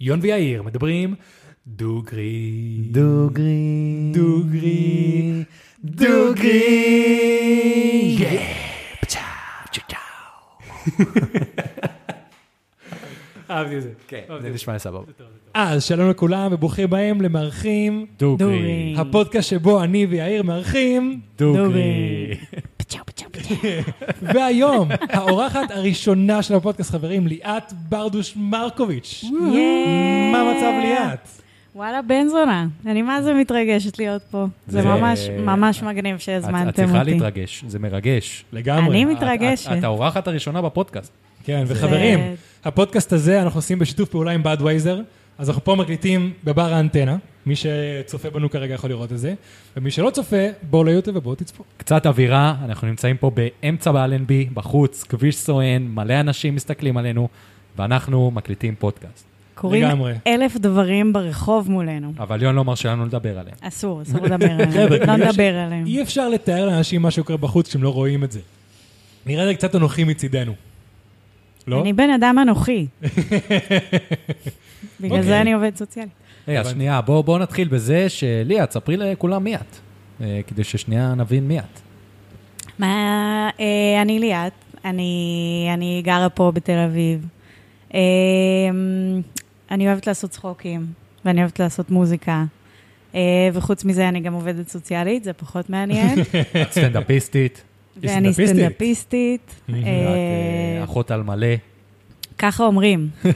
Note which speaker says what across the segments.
Speaker 1: יון ויאיר מדברים דוגרי.
Speaker 2: דוגרי.
Speaker 1: דוגרי.
Speaker 2: דוגרי.
Speaker 1: אהבתי את זה.
Speaker 2: כן,
Speaker 1: אהבתי
Speaker 2: זה
Speaker 1: את
Speaker 2: נשמע סבבה.
Speaker 3: אז שלום לכולם וברוכים בהם למארחים,
Speaker 1: דוגרי.
Speaker 3: הפודקאסט שבו אני ויאיר מארחים,
Speaker 1: דוגרי.
Speaker 3: והיום האורחת הראשונה של הפודקאסט, חברים, ליאת ברדוש מרקוביץ'. Mm-hmm. מה המצב ליאת?
Speaker 4: וואלה, בן זונה. אני מה זה מתרגשת להיות פה. זה
Speaker 1: זה-
Speaker 4: ממש, ממש מגניב
Speaker 1: את- את
Speaker 4: שהזמנתם
Speaker 1: צריכה
Speaker 4: אותי.
Speaker 1: להתרגש, זה מרגש.
Speaker 3: לגמרי.
Speaker 4: אני
Speaker 1: את-
Speaker 4: מתרגשת.
Speaker 1: את- את האורחת הראשונה בפודקאסט.
Speaker 3: כן, וחברים,
Speaker 4: זה-
Speaker 3: הפודקאסט הזה אנחנו עושים בשיתוף פעולה עם בדווייזר, אז אנחנו פה מקליטים בבר האנטנה, מי שצופה בנו כרגע יכול לראות את זה, ומי שלא צופה, בואו ליוטיוב ובואו תצפו.
Speaker 1: קצת אווירה, אנחנו נמצאים פה באמצע באלנבי, בחוץ, כביש סואן, מלא אנשים מסתכלים עלינו, ואנחנו מקליטים פודקאסט.
Speaker 4: קורים
Speaker 3: לגמרי.
Speaker 4: אלף דברים ברחוב מולנו.
Speaker 1: אבל יון לא מרשה לנו לדבר עליהם.
Speaker 4: אסור, אסור לדבר עליהם.
Speaker 3: חבר'ה,
Speaker 4: לא
Speaker 3: בגלל ש-
Speaker 4: נדבר עליהם.
Speaker 3: אי אפשר לתאר לאנשים מה שקורה בחוץ כשהם לא רואים את זה. נראה לי קצת אנוכי מצידנו. לא?
Speaker 4: אני בן אדם אנוכי. בגלל
Speaker 3: אוקיי.
Speaker 4: זה אני עובד סוציאלי.
Speaker 1: רגע, אז
Speaker 3: הבנתי.
Speaker 1: שנייה, בואו בוא נתחיל בזה שליה, תספרי לכולם מי את, אה, כדי ששנייה נבין מי את.
Speaker 4: מה, אה, אני ליאת, אני, אני גרה פה בתל אביב. אה, אני אוהבת לעשות צחוקים, ואני אוהבת לעשות מוזיקה. אה, וחוץ מזה, אני גם עובדת סוציאלית, זה פחות מעניין.
Speaker 1: את סטנדאפיסטית,
Speaker 4: ואני
Speaker 3: סטנדאפיסטית.
Speaker 4: סטנדאפיסטית.
Speaker 1: את
Speaker 4: אה,
Speaker 1: אה, אחות על מלא.
Speaker 4: ככה אומרים. אה,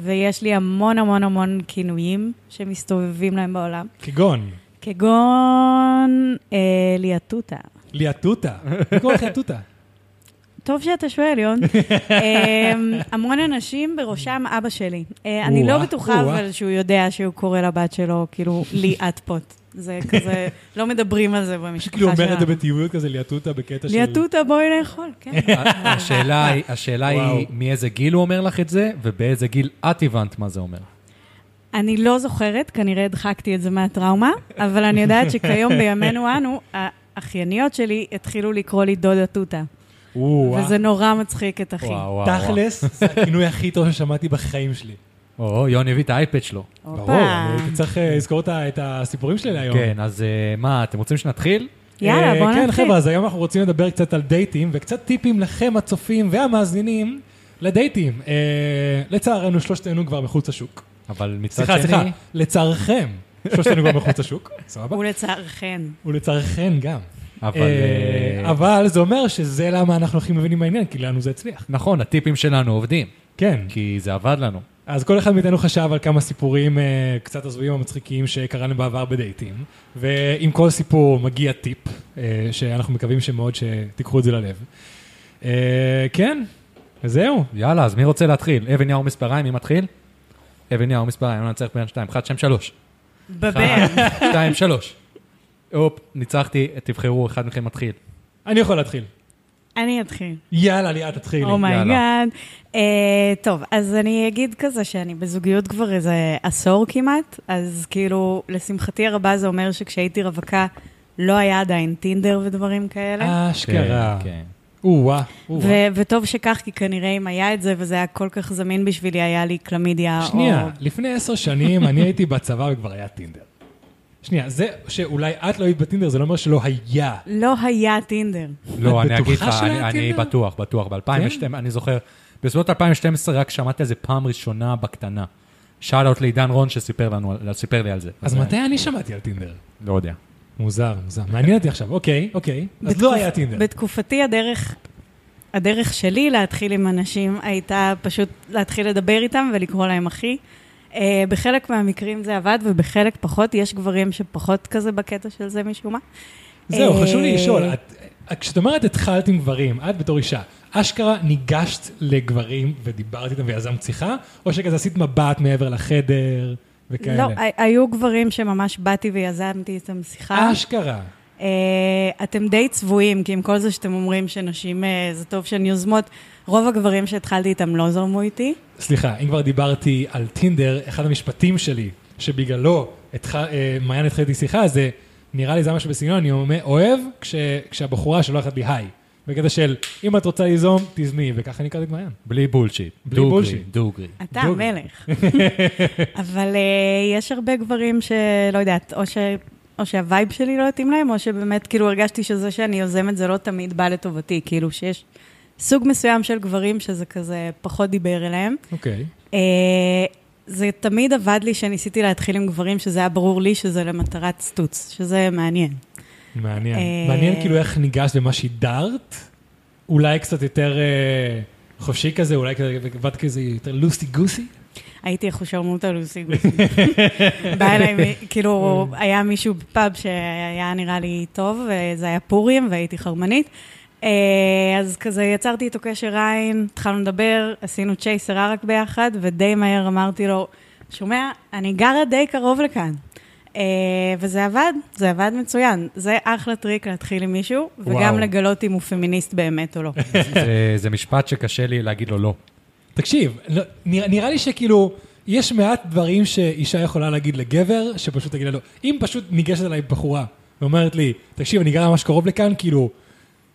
Speaker 4: ויש לי המון המון המון כינויים שמסתובבים להם בעולם,
Speaker 3: כגון,
Speaker 4: כגון אה, ליאטוטה.
Speaker 3: ליאטוטה. מי קורא לך ליאטוטה?
Speaker 4: טוב שאתה שואל, יון. אמ, המון אנשים, בראשם אבא שלי. אה, אני לא
Speaker 3: או-אה,
Speaker 4: בטוחה
Speaker 3: או-אה.
Speaker 4: אבל שהוא יודע שהוא קורא לבת שלו, כאילו, ליאת פוט. זה כזה, לא מדברים על זה במשפחה
Speaker 3: שכאילו
Speaker 4: שלנו.
Speaker 3: כאילו אומר את זה בטיוביות כזה, ליאטוטה בקטע של...
Speaker 4: ליאטוטה, בואי לאכול, כן.
Speaker 1: השאלה, היא- השאלה
Speaker 3: וואו.
Speaker 1: היא מאיזה גיל הוא אומר לך את זה, ובאיזה גיל את הבנת מה זה אומר.
Speaker 4: אני לא זוכרת, כנראה הדחקתי את זה מהטראומה, אבל אני יודעת שכיום בימינו אנו, האחייניות שלי התחילו לקרוא לי דודה תותה.
Speaker 3: או-אה.
Speaker 4: וזה נורא מצחיק את אחי.
Speaker 3: תכלס, זה הכינוי הכי טוב ששמעתי בחיים שלי.
Speaker 1: או, יוני הביא את האייפד שלו.
Speaker 4: הופה.
Speaker 3: ברור, אני הייתי צריך אה, לזכור את ה- את הסיפורים שלי להיום.
Speaker 1: כן, אז אה, מה, אתם רוצים שנתחיל?
Speaker 4: יאללה,
Speaker 3: אה,
Speaker 4: בואו
Speaker 3: כן,
Speaker 4: נתחיל.
Speaker 3: חבר'ה, אז היום אנחנו רוצים לדבר קצת על דייטים, וקצת טיפים לכם, הצופים והמאזינים, לדייטים. אה, לצערנו, שלושתנו כבר מחוץ לשוק.
Speaker 1: אבל מצד שני...
Speaker 3: סליחה, סליחה, לצערכם, שלושתנו כבר מחוץ לשוק, סבבה?
Speaker 4: ולצערכן.
Speaker 3: ולצערכן גם.
Speaker 1: אבל...
Speaker 3: אה,
Speaker 1: אה,
Speaker 3: אבל זה אומר שזה למה אנחנו הכי מבינים מהעניין, כי לנו זה הצליח.
Speaker 1: נכון, הטיפים שלנו עובדים,
Speaker 3: כן.
Speaker 1: כי זה עבד לנו.
Speaker 3: אז כל אחד מאיתנו חשב על כמה סיפורים אה, קצת הזויים או מצחיקים שקראנו בעבר בדייטים, ועם כל סיפור מגיע טיפ, אה, שאנחנו מקווים שמאוד שתיקחו את זה ללב. אה, כן, זהו.
Speaker 1: יאללה, אז מי רוצה להתחיל? אבן יאור מספריים, מי מתחיל? אבן יאור מספריים, אני צריך בין שתיים, אחת, שם שלוש.
Speaker 4: בבן.
Speaker 1: שתיים, שלוש. הופ, ניצחתי, תבחרו, אחד מכם מתחיל.
Speaker 3: אני יכול להתחיל.
Speaker 4: אני אתחיל.
Speaker 3: יאללה, ליאת, תתחילי.
Speaker 4: Oh
Speaker 1: יאללה.
Speaker 4: אומייגאד. אה, טוב, אז אני אגיד כזה שאני בזוגיות כבר איזה עשור כמעט, אז כאילו, לשמחתי הרבה זה אומר שכשהייתי רווקה, לא היה עדיין טינדר ודברים
Speaker 3: אה,
Speaker 4: כאלה.
Speaker 3: אשכרה.
Speaker 1: כן, כן.
Speaker 3: או-אה, או-אה.
Speaker 4: ו- וטוב שכך, כי כנראה אם היה את זה וזה היה כל כך זמין בשבילי, היה לי קלמידיה או...
Speaker 3: שנייה, לפני עשר שנים אני הייתי בצבא וכבר היה טינדר. שנייה, זה שאולי את לא היית בטינדר, זה לא אומר שלא היה.
Speaker 1: אוקיי.
Speaker 4: לא היה טינדר.
Speaker 1: לא,
Speaker 3: את
Speaker 1: אני אגיד
Speaker 3: בטוחה
Speaker 1: לך,
Speaker 3: שלא כן? היה
Speaker 1: אני- אני
Speaker 3: טינדר?
Speaker 1: בטוח, בטוח. ב-2012, אני זוכר, בסביבות 2012 רק שמעתי על זה פעם ראשונה בקטנה. שאל אאוט לעידן רון שסיפר לנו, על- סיפר לי על זה.
Speaker 3: אז מתי אני שמעתי על טינדר?
Speaker 1: לא יודע.
Speaker 3: מוזר, מוזר. מעניין אותי עכשיו, אוקיי, אוקיי. אז לא
Speaker 4: בתקופ-
Speaker 3: היה טינדר.
Speaker 4: בתקופתי הדרך, הדרך שלי להתחיל עם אנשים הייתה פשוט להתחיל לדבר איתם ולקרוא להם אחי. אה, בחלק מהמקרים זה עבד ובחלק פחות, יש גברים שפחות כזה בקטע של זה משום מה.
Speaker 3: זהו, חשוב לי
Speaker 4: אה,
Speaker 3: לשאול, את- את- כשאת אומרת התחלת עם גברים, את בתור אישה, אשכרה ניגשת לגברים ודיברת איתם ויזמת שיחה, או שכזה עשית מבט מעבר לחדר וכאלה?
Speaker 4: לא, ה- היו גברים שממש באתי ויזמתי איתם שיחה.
Speaker 3: אשכרה.
Speaker 4: אה, אתם די צבועים, כי עם כל זה שאתם אומרים שנשים אה, זה טוב שהן יוזמות, רוב הגברים שהתחלתי איתם לא זרמו איתי.
Speaker 3: סליחה, אם כבר דיברתי על טינדר, אחד המשפטים שלי, שבגללו התח- אה, מעיין התחיל איתי שיחה, זה נראה לי זה משהו בסגנון, אני אומר, אוהב כש- כשהבחורה שולחת לי היי. בקטע של, אם את רוצה ליזום, תיזמי, וככה אני הכרתי את מעיין.
Speaker 1: בלי בולשיט.
Speaker 3: בלי
Speaker 1: דוגרי,
Speaker 3: בולשיט.
Speaker 1: דוגרי.
Speaker 4: אתה
Speaker 3: דוגרי.
Speaker 4: המלך. אבל אה, יש הרבה גברים שלא יודעת, או ש... או שהווייב שלי לא התאים להם, או שבאמת, כאילו, הרגשתי שזה שאני יוזמת, זה לא תמיד בא לטובתי. כאילו, שיש סוג מסוים של גברים שזה כזה פחות דיבר אליהם.
Speaker 3: אוקיי.
Speaker 4: אה, זה תמיד עבד לי שניסיתי להתחיל עם גברים, שזה היה ברור לי שזה למטרת סטוץ, שזה מעניין.
Speaker 3: מעניין.
Speaker 4: אה,
Speaker 3: מעניין כאילו איך ניגשת במה שהידרת, אולי קצת יותר אה, חופשי כזה, אולי כזה, באת כזה יותר לוסי גוסי?
Speaker 4: הייתי אחושרמוטה לוסי גוסי. בא אליי, מי- כאילו, היה מישהו בפאב שהיה נראה לי טוב, וזה היה פורים, והייתי חרמנית. אה, אז כזה יצרתי איתו קשר עין, התחלנו לדבר, עשינו צ'ייסר ערק ביחד, ודי מהר אמרתי לו, שומע, אני גרה די קרוב לכאן. אה, וזה עבד, זה עבד מצוין. זה אחלה טריק להתחיל עם מישהו,
Speaker 3: וואו.
Speaker 4: וגם לגלות אם הוא פמיניסט באמת או לא.
Speaker 1: זה- זה משפט שקשה לי להגיד לו לא.
Speaker 3: תקשיב, לא- נרא- נראה לי שכאילו, יש מעט דברים שאישה יכולה להגיד לגבר, שפשוט תגיד לה לא. אם פשוט ניגשת אליי בחורה ואומרת לי, תקשיב, אני גרה ממש קרוב לכאן, כאילו,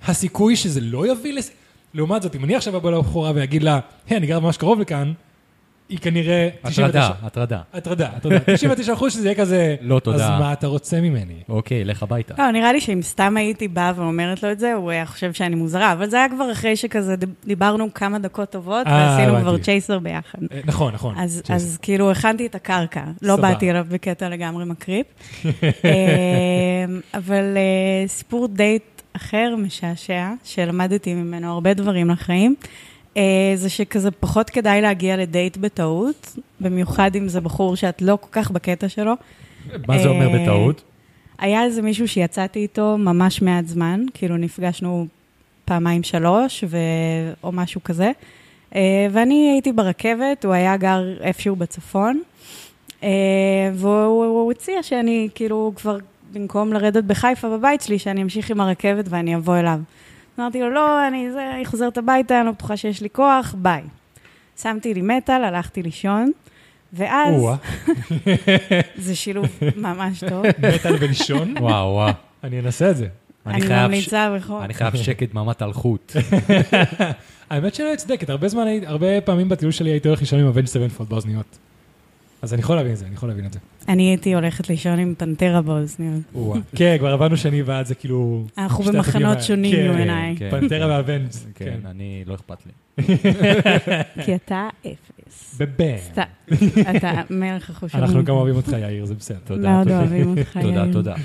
Speaker 3: הסיכוי שזה לא יוביל לס... לעומת זאת, אם אני עכשיו אבוא לבחורה ואגיד לה, היי, אני גרה ממש קרוב לכאן, היא כנראה... 99
Speaker 1: הטרדה, הטרדה.
Speaker 3: הטרדה, הטרדה. 99 אחוז שזה יהיה כזה,
Speaker 1: לא, תודה.
Speaker 3: אז מה אתה רוצה ממני?
Speaker 1: אוקיי, לך הביתה.
Speaker 3: אה,
Speaker 4: לא, נראה לי שאם סתם הייתי באה ואומרת לו את זה, הוא היה חושב שאני מוזרה, אבל זה היה כבר אחרי שכזה דיב- דיברנו כמה דקות טובות,
Speaker 3: אה,
Speaker 4: ועשינו כבר
Speaker 3: הבנתי.
Speaker 4: צ'ייסר ביחד.
Speaker 3: אה, נכון, נכון.
Speaker 4: אז,
Speaker 3: שיש-
Speaker 4: אז כאילו הכנתי את הקרקע, לא
Speaker 3: סבבה.
Speaker 4: באתי אליו בקטע לגמרי מקריפ. אה, אבל אה, סיפור דייט אחר משעשע, שלמדתי ממנו הרבה דברים לחיים, אה, זה שכזה פחות כדאי להגיע לדייט בטעות, במיוחד אם זה בחור שאת לא כל כך בקטע שלו.
Speaker 1: מה זה אומר
Speaker 4: אה,
Speaker 1: בטעות?
Speaker 4: היה איזה מישהו שיצאתי איתו ממש מעט זמן, כאילו נפגשנו פעמיים שלוש ו... או משהו כזה, אה, ואני הייתי ברכבת, הוא היה גר איפשהו בצפון, אה, והוא הוא הציע שאני כאילו כבר, במקום לרדת בחיפה בבית שלי, שאני אמשיך עם הרכבת ואני אבוא אליו. אמרתי לו, לא, אני זה, אני חוזרת הביתה, אני לא בטוחה שיש לי כוח, ביי. שמתי לי מטאל, הלכתי לישון, ואז
Speaker 3: או-אה,
Speaker 4: זה שילוב ממש טוב.
Speaker 3: מטאל ולישון?
Speaker 1: וואו, וואו.
Speaker 3: אני אנסה את זה.
Speaker 4: אני
Speaker 1: חייב ש-
Speaker 4: ממליצה כן. בכל...
Speaker 1: אני חייב שקט דממת אלחוט.
Speaker 3: האמת שלא הצדקת, הרבה זמן, הייתי- הרבה פעמים בטיול שלי הייתי הולך לישון עם הוונג' סבנפולד באוזניות. אז אני יכול להבין את זה, אני יכול להבין את זה.
Speaker 4: אני הייתי הולכת לישון עם פנטרה באוזניות.
Speaker 3: כן, כבר הבנו שאני ואת זה כאילו...
Speaker 4: אנחנו
Speaker 3: שתי החוגים
Speaker 4: במחנות
Speaker 3: האלה.
Speaker 4: שונים,
Speaker 3: כן,
Speaker 4: יומנאי.
Speaker 1: כן.
Speaker 3: פנטרה והוונג'. כן.
Speaker 1: כן, אני, לא אכפת לי.
Speaker 4: אה, כי אתה אפס.
Speaker 3: בבן.
Speaker 4: סתם, אתה מלך החושים.
Speaker 3: כן. אנחנו גם אוהבים אותך, יאיר, זה בסדר.
Speaker 1: תודה.
Speaker 4: מאוד
Speaker 1: תודה.
Speaker 4: אוהבים אותך, יאיר.
Speaker 1: תודה, תודה.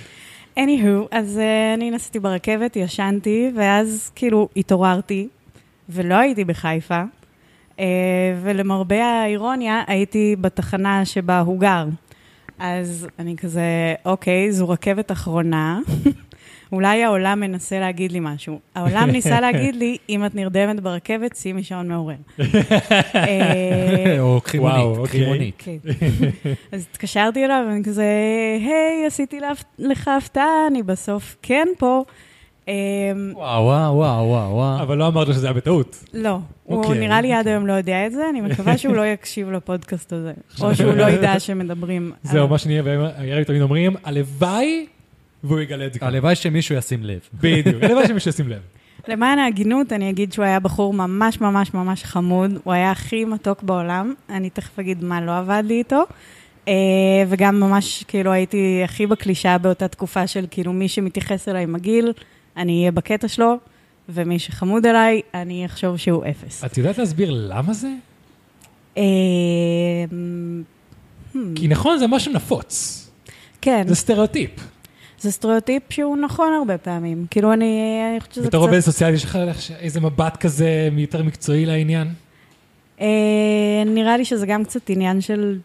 Speaker 4: anywho, אז אה, אני נסעתי ברכבת, ישנתי, ואז כאילו התעוררתי, ולא הייתי בחיפה, אה, ולמרבה האירוניה, הייתי בתחנה שבה הוא גר. אז אני כזה, אוקיי, זו רכבת אחרונה. אולי העולם מנסה להגיד לי משהו. העולם ניסה להגיד לי, אם את נרדמת ברכבת, שימי שעון מעורר. אה,
Speaker 1: או קרימונית,
Speaker 3: וואו, אוקיי.
Speaker 1: קרימונית.
Speaker 4: כן. אז התקשרתי אליו, ואני כזה, היי, עשיתי להפ- לך הפתעה, אני בסוף כן פה. אמ,
Speaker 1: וואו, וואו, וואו, וואו, וואו.
Speaker 3: אבל לא אמרת לו שזה היה בטעות.
Speaker 4: לא, הוא
Speaker 3: אוקיי,
Speaker 4: נראה לי עד היום לא יודע את זה, אני מקווה שהוא לא יקשיב לפודקאסט הזה, או שהוא לא ידע שמדברים. על-
Speaker 3: זהו, מה שנהיה, ויאיר תמיד אומרים, הלוואי והוא יגלה את זה.
Speaker 1: הלוואי שמישהו ישים לב.
Speaker 3: בדיוק, הלוואי שמישהו ישים לב.
Speaker 4: למען ההגינות, אני אגיד שהוא היה בחור ממש ממש ממש חמוד, הוא היה הכי מתוק בעולם, אני תכף אגיד מה לא עבד לי איתו. אה, וגם ממש, כאילו, הייתי הכי בקלישאה באותה תקופה של, כאילו, מי שמתייחס אליי מגעיל, אני אהיה בקטע שלו, ומי שחמוד אליי, אני אחשוב שהוא אפס.
Speaker 3: את יודעת להסביר למה זה?
Speaker 4: אה,
Speaker 3: כי נכון, זה משהו נפוץ.
Speaker 4: כן,
Speaker 3: זה סטריאוטיפ.
Speaker 4: זה סטריאוטיפ שהוא נכון הרבה פעמים. כאילו, אני אני חושבת שזה קצת...
Speaker 3: בתור עובד סוציאלי, יש לך איך- איזה מבט כזה יותר מקצועי לעניין?
Speaker 4: אה, נראה לי שזה גם קצת עניין של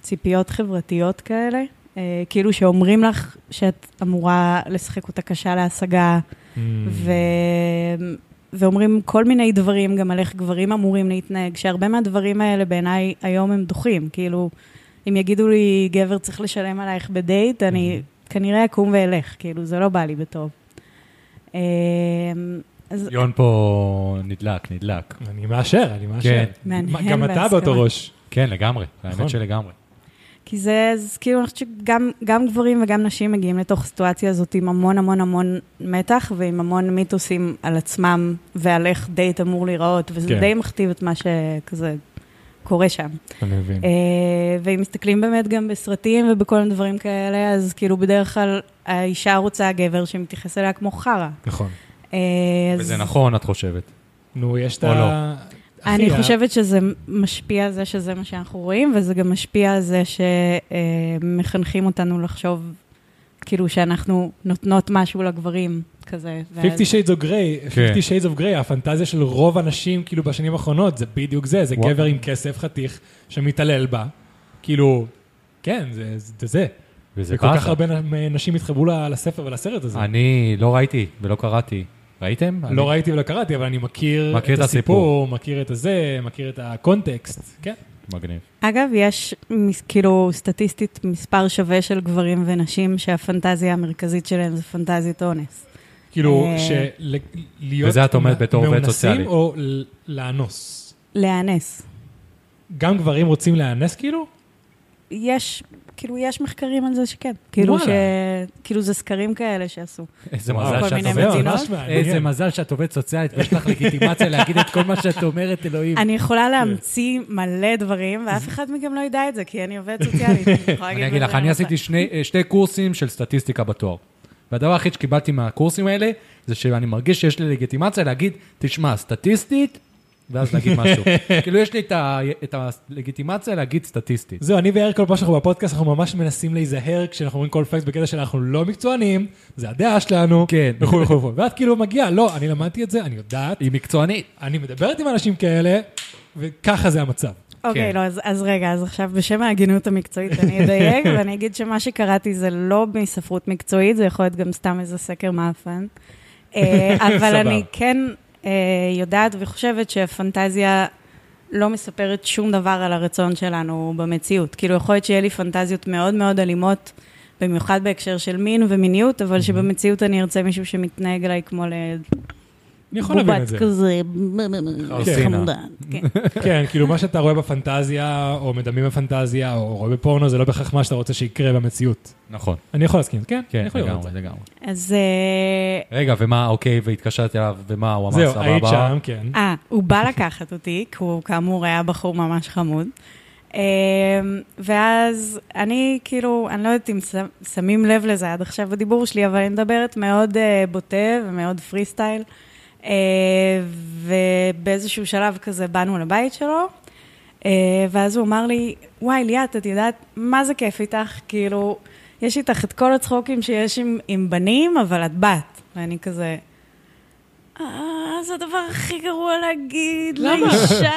Speaker 4: ציפיות חברתיות כאלה. אה, כאילו שאומרים לך שאת אמורה לשחק אותה קשה להשגה,
Speaker 3: Mm.
Speaker 4: ו... ואומרים כל מיני דברים גם על איך גברים אמורים להתנהג, שהרבה מהדברים האלה בעיניי היום הם דוחים. כאילו, אם יגידו לי, גבר צריך לשלם עלייך בדייט, אני כנראה אקום ואלך, כאילו, זה לא בא לי בטוב. אה, אז
Speaker 1: יון פה נדלק, נדלק.
Speaker 3: אני מאשר, אני מאשר.
Speaker 1: כן.
Speaker 3: מה,
Speaker 4: מהנהן
Speaker 3: גם אתה
Speaker 4: בהסכמה.
Speaker 3: באותו ראש.
Speaker 1: כן, לגמרי.
Speaker 3: נכון.
Speaker 1: האמת שלגמרי.
Speaker 4: כי זה, זה כאילו, אני חושבת שגם גם גברים וגם נשים מגיעים לתוך הסיטואציה הזאת עם המון המון המון מתח ועם המון מיתוסים על עצמם ועל איך דייט אמור להיראות, וזה
Speaker 3: כן.
Speaker 4: כן. די מכתיב את מה שכזה קורה שם.
Speaker 1: כן.
Speaker 3: אני מבין.
Speaker 4: אה, ואם מסתכלים באמת גם בסרטים ובכל מיני דברים כאלה, אז כאילו בדרך כלל האישה רוצה גבר שמתייחס אליה כמו חרא.
Speaker 3: נכון.
Speaker 4: אה, אז
Speaker 1: וזה נכון, את חושבת.
Speaker 3: נו, יש את
Speaker 1: או לא.
Speaker 3: ה... אחי,
Speaker 4: אני
Speaker 3: ה-
Speaker 4: חושבת שזה משפיע על זה שזה מה שאנחנו רואים, וזה גם משפיע על זה שמחנכים אותנו לחשוב, כאילו שאנחנו נותנות משהו לגברים, כזה. ואז-
Speaker 3: 50 Shades of Grey, 50
Speaker 1: כן.
Speaker 3: Shades of Grey, הפנטזיה של רוב הנשים, כאילו, בשנים האחרונות, זה בדיוק זה, זה
Speaker 1: וואו.
Speaker 3: גבר עם כסף חתיך שמתעלל בה. כאילו, כן, זה זה זה.
Speaker 1: וזה
Speaker 3: וכל כך
Speaker 1: ככה.
Speaker 3: הרבה נ- נשים התחברו ל- לספר ולסרט הזה.
Speaker 1: אני לא ראיתי ולא קראתי. ראיתם?
Speaker 3: לא
Speaker 1: אני-
Speaker 3: ראיתי ולא קראתי, אבל אני מכיר
Speaker 1: מכיר
Speaker 3: את
Speaker 1: את הסיפור.
Speaker 3: הסיפור, מכיר את הזה, מכיר את הקונטקסט. כן.
Speaker 1: מגניב.
Speaker 4: אגב, יש מס- כאילו סטטיסטית מספר שווה של גברים ונשים שהפנטזיה המרכזית שלהם זה פנטזיית אונס.
Speaker 3: כאילו,
Speaker 4: אה.
Speaker 3: שלהיות...
Speaker 1: וזה את אומרת בתור עובדת סוציאלית.
Speaker 3: או ל- לאנוס.
Speaker 4: להיאנס.
Speaker 3: גם גברים רוצים להיאנס כאילו?
Speaker 4: יש, כאילו, יש מחקרים על זה שכן. כאילו, ש...
Speaker 3: וואלה.
Speaker 4: כאילו זה סקרים כאלה שעשו.
Speaker 1: איזה
Speaker 3: וואו,
Speaker 1: מזל
Speaker 4: כל
Speaker 1: שאת
Speaker 4: מיני
Speaker 1: עובדת
Speaker 4: מדינות.
Speaker 1: סוציאלית.
Speaker 3: ממש מעניין.
Speaker 1: איזה מזל שאת עובדת סוציאלית, ויש לך לגיטימציה להגיד את כל מה שאת אומרת, אלוהים. כן.
Speaker 4: אני יכולה להמציא מלא דברים, ואף אחד מכם לא ידע את זה, כי אני עובדת סוציאלית. אני יכולה
Speaker 1: אני אגיד
Speaker 4: להגיד
Speaker 1: לך,
Speaker 4: בזה
Speaker 1: אני
Speaker 4: הרבה.
Speaker 1: עשיתי שני- אה, שתי קורסים של סטטיסטיקה בתואר. והדבר היחיד שקיבלתי מהקורסים האלה, זה שאני מרגיש שיש לי לגיטימציה להגיד, תשמע, סטטיסטית, ואז להגיד משהו. כאילו, יש לי את ה- את הלגיטימציה להגיד סטטיסטית.
Speaker 3: זהו, אני ואריק כל פעם שאנחנו בפודקאסט, אנחנו ממש מנסים להיזהר כשאנחנו אומרים כל פקס בקטע שאנחנו לא מקצוענים, זה הדעה שלנו,
Speaker 1: כן.
Speaker 3: וכו' וכו' וכו'. ואת כאילו מגיעה, לא, אני למדתי את זה, אני יודעת,
Speaker 1: היא מקצוענית.
Speaker 3: אני מדברת עם אנשים כאלה, וככה זה המצב.
Speaker 4: אוקיי,
Speaker 1: כן.
Speaker 4: לא, אז- אז רגע, אז עכשיו בשם ההגינות המקצועית אני אדייק, ואני אגיד שמה שקראתי זה לא מספרות מקצועית, זה יכול להיות גם סתם איזה סקר מאפן. אה, אבל
Speaker 3: סבבה.
Speaker 4: אני כן אה, יודעת וחושבת שהפנטזיה לא מספרת שום דבר על הרצון שלנו במציאות. כאילו, יכול להיות שיהיה לי פנטזיות מאוד מאוד אלימות, במיוחד בהקשר של מין ומיניות, אבל
Speaker 3: Mhm.
Speaker 4: שבמציאות אני ארצה מישהו שמתנהג אליי כמו
Speaker 3: אני יכול להבין את
Speaker 4: לבובת
Speaker 3: זה.
Speaker 4: כזה,
Speaker 1: חרסינה.
Speaker 4: חמודה. כן.
Speaker 3: כן, כאילו מה שאתה רואה בפנטזיה, או מדמים בפנטזיה, או רואה בפורנו, זה לא בהכרח מה שאתה רוצה שיקרה במציאות.
Speaker 1: נכון.
Speaker 3: אני יכול להסכים, כן, אני
Speaker 1: כן,
Speaker 3: יכול לראות את זה.
Speaker 1: לגמרי, לגמרי.
Speaker 4: אז אה,
Speaker 1: רגע, ומה, אוקיי, והתקשרתי אליו, ומה, הוא אמר סבבה.
Speaker 3: זהו, היית שם, כן.
Speaker 4: אה, הוא בא לקחת אותי, כי הוא כאמור היה בחור ממש חמוד. אמ, ואז אני כאילו, אני לא יודעת אם ש- שמים לב לזה עד עכשיו בדיבור שלי, אבל אני מדברת מאוד אה, בוטה ומאוד פרי סטייל. אה, ובאיזשהו שלב כזה באנו לבית שלו, אה, ואז הוא אמר לי, וואי, ליאת, את יודעת מה זה כיף איתך? כאילו, יש איתך את כל הצחוקים שיש עם, עם בנים, אבל את בת. ואני כזה, אה, זה הדבר הכי גרוע להגיד
Speaker 3: למה?
Speaker 4: לאישה,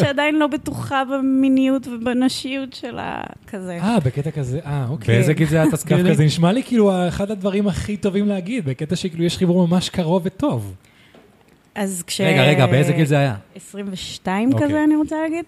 Speaker 4: שעדיין לא בטוחה במיניות ובנשיות שלה, כזה.
Speaker 3: אה, בקטע כזה, אה, אוקיי.
Speaker 1: באיזה גיל זה היה
Speaker 3: דווקא
Speaker 1: תסקיר
Speaker 3: זה
Speaker 1: כזה?
Speaker 3: נשמע לי כאילו אחד הדברים הכי טובים להגיד, בקטע שכאילו יש חיבור ממש קרוב וטוב.
Speaker 4: אז כש...
Speaker 1: רגע, רגע, באיזה גיל זה היה?
Speaker 4: 22
Speaker 1: אוקיי.
Speaker 4: כזה, אני רוצה להגיד.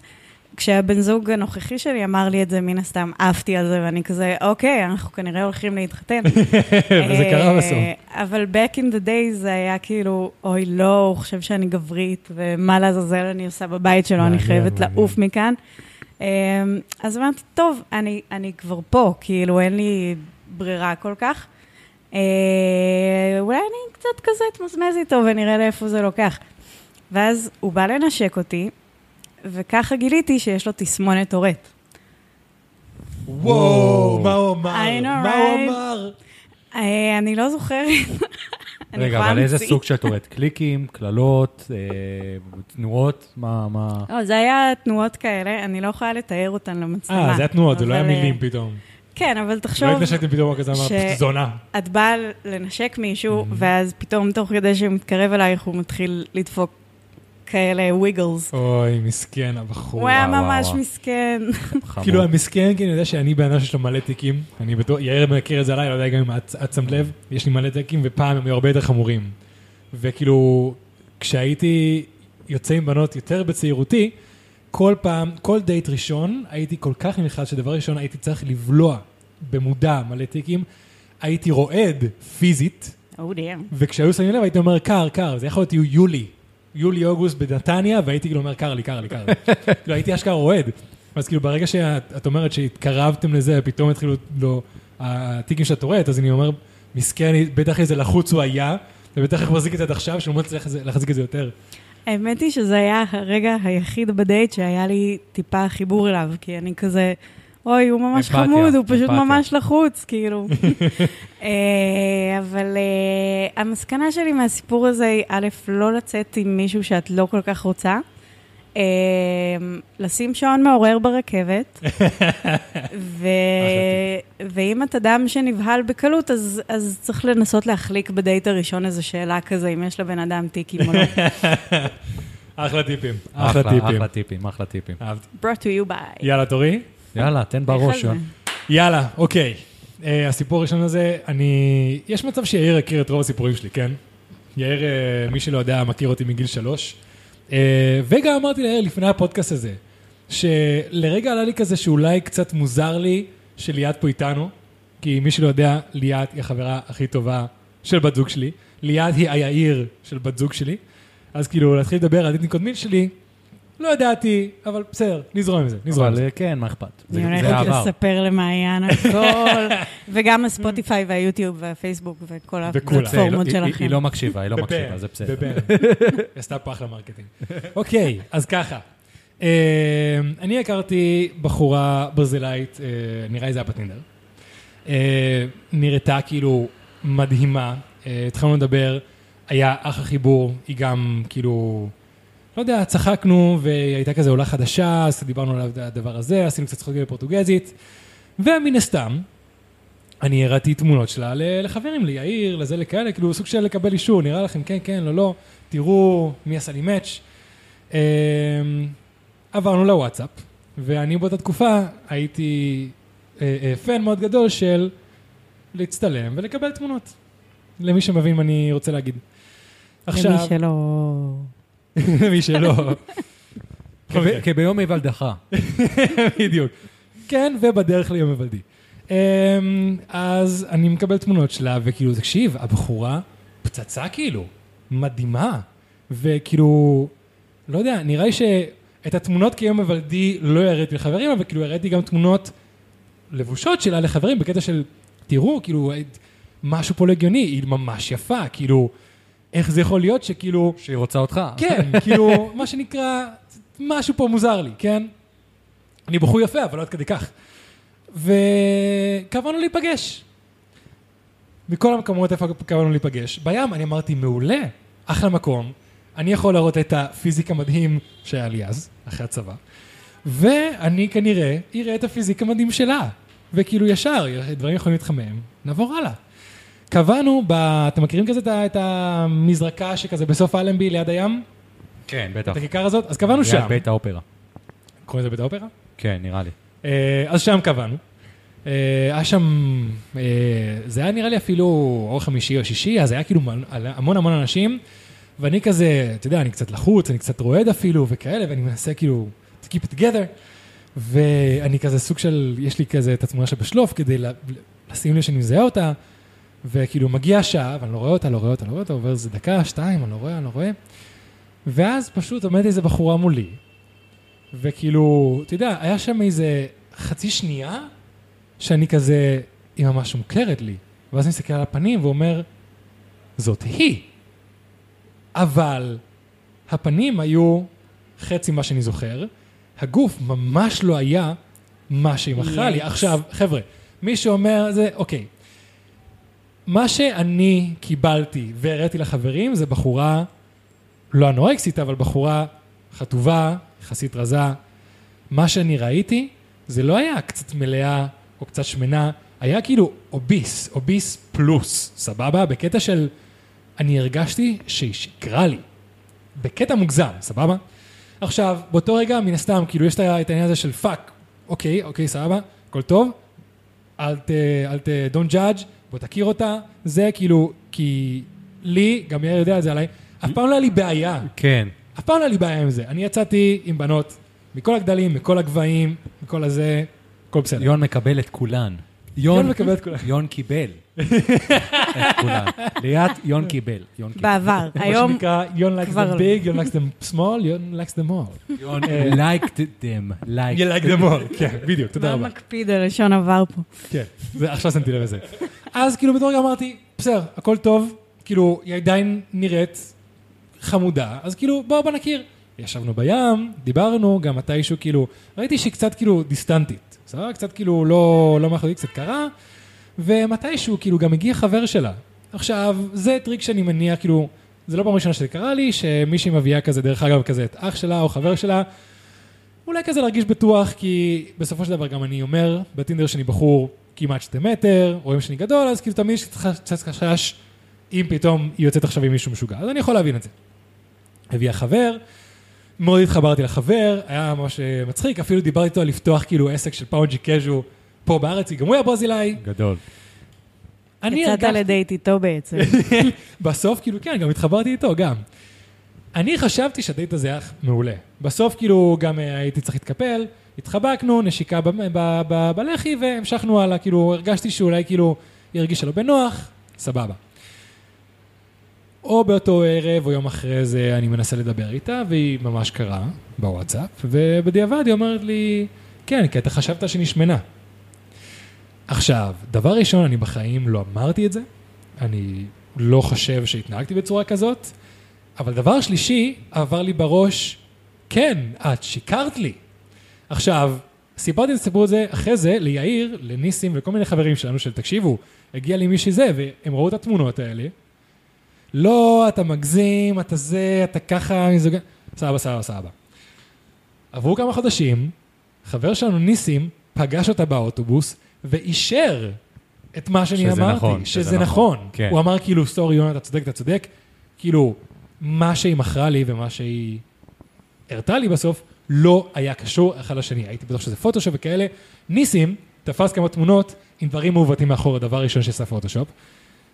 Speaker 4: כשהבן זוג הנוכחי שלי אמר לי את זה, מן הסתם עפתי על זה, ואני כזה, אוקיי, אנחנו כנראה הולכים להתחתן.
Speaker 3: וזה קרה
Speaker 4: אה,
Speaker 3: בסוף.
Speaker 4: אבל back in the day זה היה כאילו, אוי, לא, הוא חושב שאני גברית, ומה לעזאזל אני עושה בבית שלו, אני
Speaker 3: מעניין,
Speaker 4: חייבת
Speaker 3: מעניין.
Speaker 4: לעוף מכאן. אה, אז אמרתי, טוב, אני, אני כבר פה, כאילו, אין לי ברירה כל כך. אה, אולי אני קצת כזה אתמזמז איתו ונראה לאיפה זה לוקח. ואז הוא בא לנשק אותי, וככה גיליתי שיש לו תסמונת טורט.
Speaker 3: וואו, מה הוא אמר?
Speaker 4: I know,
Speaker 3: מה הוא
Speaker 4: right?
Speaker 3: אמר?
Speaker 4: אה, אני לא זוכרת. אני
Speaker 1: רגע,
Speaker 4: יכולה
Speaker 1: אבל איזה
Speaker 4: להמציא.
Speaker 1: סוג של טורט? קליקים, קללות, אה, תנועות? מה, מה?
Speaker 4: לא, זה היה תנועות כאלה, אני לא יכולה לתאר אותן למצלמה.
Speaker 3: אה, זה היה תנועות, זה לא היה
Speaker 4: אבל, אה,
Speaker 3: מילים פתאום.
Speaker 4: כן, אבל
Speaker 3: לא
Speaker 4: תחשוב,
Speaker 3: התנשקתם פתאום רק כזה,
Speaker 4: ש-
Speaker 3: אמרת, זונה.
Speaker 4: את באה לנשק מישהו, ואז פתאום תוך כדי שהוא מתקרב אלייך, הוא מתחיל לדפוק כאלה וויגלס.
Speaker 3: אוי, מסכן הבחור.
Speaker 4: הוא היה
Speaker 1: וואו,
Speaker 4: ממש
Speaker 1: וואו.
Speaker 4: מסכן.
Speaker 1: חמור.
Speaker 3: כאילו, המסכן, כי אני יודע שאני בן אדם שיש לו מלא תיקים. אני בטוח, יאיר מכיר את זה עליי, לא יודע גם אם את את שמת לב, יש לי מלא תיקים, ופעם הם היו הרבה יותר חמורים. וכאילו, כשהייתי יוצא עם בנות יותר בצעירותי, כל פעם, כל דייט ראשון, הייתי כל כך נלחץ, שדבר ראשון הייתי צריך לבלוע במודע מלא תיקים. הייתי רועד פיזית,
Speaker 4: או דיאם.
Speaker 3: וכשהיו שמים לב הייתי אומר קר, קר, זה יכול להיות יהיו יולי, יולי-אוגוסט בנתניה, והייתי כאילו אומר קר לי, קר לי, קר לי. כאילו הייתי אשכרה רועד. אז כאילו ברגע שאת את אומרת שהתקרבתם לזה, פתאום התחילו לו, הטיקים שאת הורדת, אז אני אומר, מסכן, בטח איזה לחוץ הוא היה, ובטח איך הוא מחזיק את זה עד עכשיו, שהוא לא מצליח לזה- להחזיק את זה יותר.
Speaker 4: האמת היא שזה היה הרגע היחיד בדייט שהיה לי טיפה חיבור אליו, כי אני כזה, אוי, הוא ממש
Speaker 1: אמפתיה,
Speaker 4: חמוד, הוא פשוט
Speaker 1: אמפתיה."
Speaker 4: ממש לחוץ, כאילו. אה, אבל אה, המסקנה שלי מהסיפור הזה היא, א', לא לצאת עם מישהו שאת לא כל כך רוצה, אה, לשים שעון מעורר ברכבת, ו... ואם את אדם שנבהל בקלות, אז, אז צריך לנסות להחליק בדייט הראשון איזו שאלה כזה, אם יש לבן אדם טיקים או לא.
Speaker 3: אחלה טיפים. אחלה
Speaker 1: אחלה,
Speaker 3: טיפים.
Speaker 1: אחלה טיפים, אחלה טיפים.
Speaker 3: אהבתי.
Speaker 4: brought to you by.
Speaker 3: יאללה, תורי.
Speaker 1: יאללה, תן בראש.
Speaker 4: איך על
Speaker 1: יואב.
Speaker 3: יאללה, אוקיי. אה, הסיפור הראשון הזה, אני... יש מצב שיאיר יכיר את רוב הסיפורים שלי, כן? יאיר, אה, מי שלא יודע, מכיר אותי מגיל שלוש. אה, וגם אמרתי ליאיר לפני הפודקאסט הזה, שלרגע עלה לי כזה שאולי קצת מוזר לי שליאת פה איתנו, כי מי שלא יודע, ליאת היא החברה הכי טובה של בת זוג שלי. ליאת היא היאיר של בת זוג שלי. אז כאילו, להתחיל לדבר על דין קודמין שלי, לא ידעתי, אבל בסדר, נזרום עם זה, נזרום עם
Speaker 1: אבל
Speaker 3: זה.
Speaker 1: אה, כן, מה אכפת? זה
Speaker 4: אני
Speaker 1: זה
Speaker 4: הולכת
Speaker 1: העבר.
Speaker 4: לספר למעיין הכל, וגם הספוטיפיי והיוטיוב והפייסבוק וכל
Speaker 3: וכולם.
Speaker 4: הפלטפורמות
Speaker 1: היא- היא-
Speaker 4: שלכם.
Speaker 1: היא לא מקשיבה, היא לא מקשיבה,
Speaker 3: בבן,
Speaker 1: זה בסדר.
Speaker 3: בבן. היא עשתה פה אחלה מרקטינג. אוקיי, אז ככה. אה, אני הכרתי בחורה ברזילאית, אה, נראה לי זה היה בטינדר. אה, נראתה כאילו מדהימה. אה, התחלנו לדבר, היה אחלה חיבור, היא גם כאילו... לא יודע, צחקנו, והיא הייתה כזה עולה חדשה, אז דיברנו על הדבר הזה, עשינו קצת צחוקים בפורטוגזית, ומן הסתם, אני הראתי תמונות שלה ל- לחברים, ליאיר, לזה, לכאלה, כאילו סוג של לקבל אישור, נראה לכם כן, כן, לא, לא, תראו מי עשה לי מאץ'. אמ, עברנו לוואטסאפ, ואני באותה תקופה הייתי אה, אה, פן מאוד גדול של להצטלם ולקבל תמונות. למי שמבין מה אני רוצה להגיד.
Speaker 4: למי שלא...
Speaker 3: למי שלא.
Speaker 1: כב-
Speaker 3: כן.
Speaker 1: כביום היוולדך.
Speaker 3: בדיוק. כן, ובדרך ליום היוולדי. אמ, אז אני מקבל תמונות שלה, וכאילו, תקשיב, הבחורה פצצה כאילו, מדהימה. וכאילו, לא יודע, נראה לי שאת התמונות כיום היוולדי לא הראיתי לחברים, אבל כאילו הראיתי גם תמונות לבושות שלה לחברים, בקטע של, תראו, כאילו, את- משהו פה לא הגיוני, היא ממש יפה, כאילו, איך זה יכול להיות שכאילו...
Speaker 1: שהיא רוצה אותך.
Speaker 3: כן, כאילו, מה שנקרא, משהו פה מוזר לי, כן? אני בחור יפה, אבל לא עד כדי כך. וקבענו להיפגש. מכל המקומות איפה קבענו להיפגש. בים אני אמרתי, מעולה, אחלה מקום. אני יכול להראות את הפיזיק המדהים שהיה לי אז, אחרי הצבא. ואני כנראה אראה את הפיזיק המדהים שלה. וכאילו ישר, דברים יכולים להתחמם, נעבור הלאה. קבענו, ב... אתם מכירים כזה את ה- את המזרקה שכזה בסוף אלנבי ליד הים?
Speaker 1: כן, בטח.
Speaker 3: את הכיכר הזאת? אז קבענו שם.
Speaker 1: ליד בית האופרה.
Speaker 3: קוראים לזה בית האופרה?
Speaker 1: כן, נראה לי.
Speaker 3: אה, אז שם קבענו. אה, היה שם, אה, זה היה נראה לי אפילו או חמישי או שישי, אז היה כאילו מל- המון המון אנשים, ואני כזה, אתה יודע, אני קצת לחוץ, אני קצת רועד אפילו, וכאלה, ואני מנסה כאילו, to keep it together, ואני כזה סוג של, יש לי כזה את התמונה שבשלוף, כדי לה- לשים לב שאני מזהה אותה, וכאילו מגיעה שעה, ואני לא רואה אותה, לא רואה אותה, לא רואה אותה, עובר איזה דקה, שתיים, אני לא רואה, אני לא רואה, ואז פשוט עומדת איזה בחורה מולי, וכאילו, אתה יודע, היה שם איזה חצי שנייה שאני כזה, היא ממש מוכרת לי. ואז אני מסתכל על הפנים ואומר, זאת היא. אבל הפנים היו חצי מה שאני זוכר, הגוף ממש לא היה מה שהיא מכרה לי.
Speaker 4: Yes.
Speaker 3: עכשיו, חבר'ה, מי שאומר זה, אוקיי. מה שאני קיבלתי והראיתי לחברים זה בחורה לא אנורקסית, אבל בחורה חטובה, יחסית רזה. מה שאני ראיתי, זה לא היה קצת מלאה או קצת שמנה, היה כאילו אוביס, אוביס פלוס, סבבה? בקטע של, אני הרגשתי שהיא שיקרה לי. בקטע מוגזם, סבבה? עכשיו, באותו רגע, מן הסתם, כאילו, יש את ה- את העניין הזה של פאק, אוקיי, אוקיי, סבבה, הכל טוב, אל ת... אל ת... don't judge, בוא תכיר אותה, זה כאילו, כי לי, גם יאיר יודע את זה עליי, אף פעם לא היה לי בעיה.
Speaker 1: כן.
Speaker 3: אף פעם לא היה לי בעיה עם זה. אני יצאתי עם בנות מכל הגדלים, מכל הגבהים, מכל הזה, הכל בסדר.
Speaker 1: יון מקבל את כולן. יון
Speaker 3: מקבל את כולן.
Speaker 1: יון קיבל. את כולם. ליאת, יון קיבל. יון קיבל.
Speaker 4: בעבר.
Speaker 3: מה
Speaker 4: היום,
Speaker 3: שנקרא, Yon likes
Speaker 4: כבר
Speaker 3: them
Speaker 4: לא.
Speaker 3: big, Yon likes them small, Yon likes them all.
Speaker 1: יון liked
Speaker 3: You
Speaker 1: them. liked.
Speaker 3: like them all, כן, בדיוק, תודה
Speaker 4: מה
Speaker 3: רבה.
Speaker 4: מקפיד על לשון עבר פה.
Speaker 3: כן, זה- עכשיו שמתי לב לזה. אז כאילו בתור רגע אמרתי, בסדר, הכל טוב, כאילו, היא עדיין נראית חמודה, אז כאילו, בואו בוא נכיר. ישבנו בים, דיברנו, גם מתישהו כאילו, ראיתי שהיא קצת כאילו דיסטנטית, בסדר? קצת כאילו לא, לא מאחורי, קצת קרה, ומתישהו כאילו גם הגיע חבר שלה. עכשיו, זה טריק שאני מניח, כאילו, זה לא פעם ראשונה שזה קרה לי, שמישהי מביאה כזה, דרך אגב, כזה את אח שלה או חבר שלה, אולי כזה להרגיש בטוח, כי בסופו של דבר גם אני אומר בטינדר שאני בחור כמעט שתי מטר, רואים שאני גדול, אז כאילו תמיד יש לך קצת חשש אם פתאום היא יוצאת עכשיו עם מישהו משוגע, אז אני יכול להבין את זה. הביאה חבר, מאוד התחברתי לחבר, היה ממש אה, מצחיק, אפילו דיברתי איתו על לפתוח כאילו עסק של פאונג'י קז'ו פה בארץ, כי גם הוא היה ברזילאי.
Speaker 1: גדול.
Speaker 3: אני
Speaker 4: יצאת
Speaker 3: הרגשתי-
Speaker 4: לדייט איתו בעצם.
Speaker 3: בסוף, כאילו, כן, גם התחברתי איתו, גם. אני חשבתי שהדייט הזה היה מעולה. בסוף, כאילו, גם אה, הייתי צריך להתקפל, התחבקנו, נשיקה ב- ב- ב- בלחי, והמשכנו הלאה, כאילו, הרגשתי שאולי, כאילו, היא הרגישה לא בנוח, סבבה. או באותו ערב, או יום אחרי זה, אני מנסה לדבר איתה, והיא ממש קרה בוואטסאפ, ובדיעבד היא אומרת לי, כן, כי אתה חשבת שנשמנה. עכשיו, דבר ראשון, אני בחיים לא אמרתי את זה, אני לא חושב שהתנהגתי בצורה כזאת, אבל דבר שלישי, עבר לי בראש, כן, את שיקרת לי. עכשיו, סיפרתי את הסיפור הזה אחרי זה ליאיר, לניסים וכל מיני חברים שלנו של תקשיבו, הגיע לי מישהי זה, והם ראו את התמונות האלה. לא, אתה מגזים, אתה זה, אתה ככה, מיזוג... סבבה, סבבה, סבבה. עברו כמה חודשים, חבר שלנו ניסים פגש אותה באוטובוס ואישר את מה שאני
Speaker 1: שזה
Speaker 3: אמרתי,
Speaker 1: נכון,
Speaker 3: שזה,
Speaker 1: שזה
Speaker 3: נכון.
Speaker 1: נכון, כן.
Speaker 3: הוא אמר כאילו, סורי יונה, אתה צודק, אתה צודק. כאילו, מה שהיא מכרה לי ומה שהיא הראתה לי בסוף, לא היה קשור אחד לשני. הייתי בטוח שזה פוטושופ וכאלה. ניסים תפס כמה תמונות עם דברים מעוותים מאחור, הדבר הראשון שעשה פוטושופ.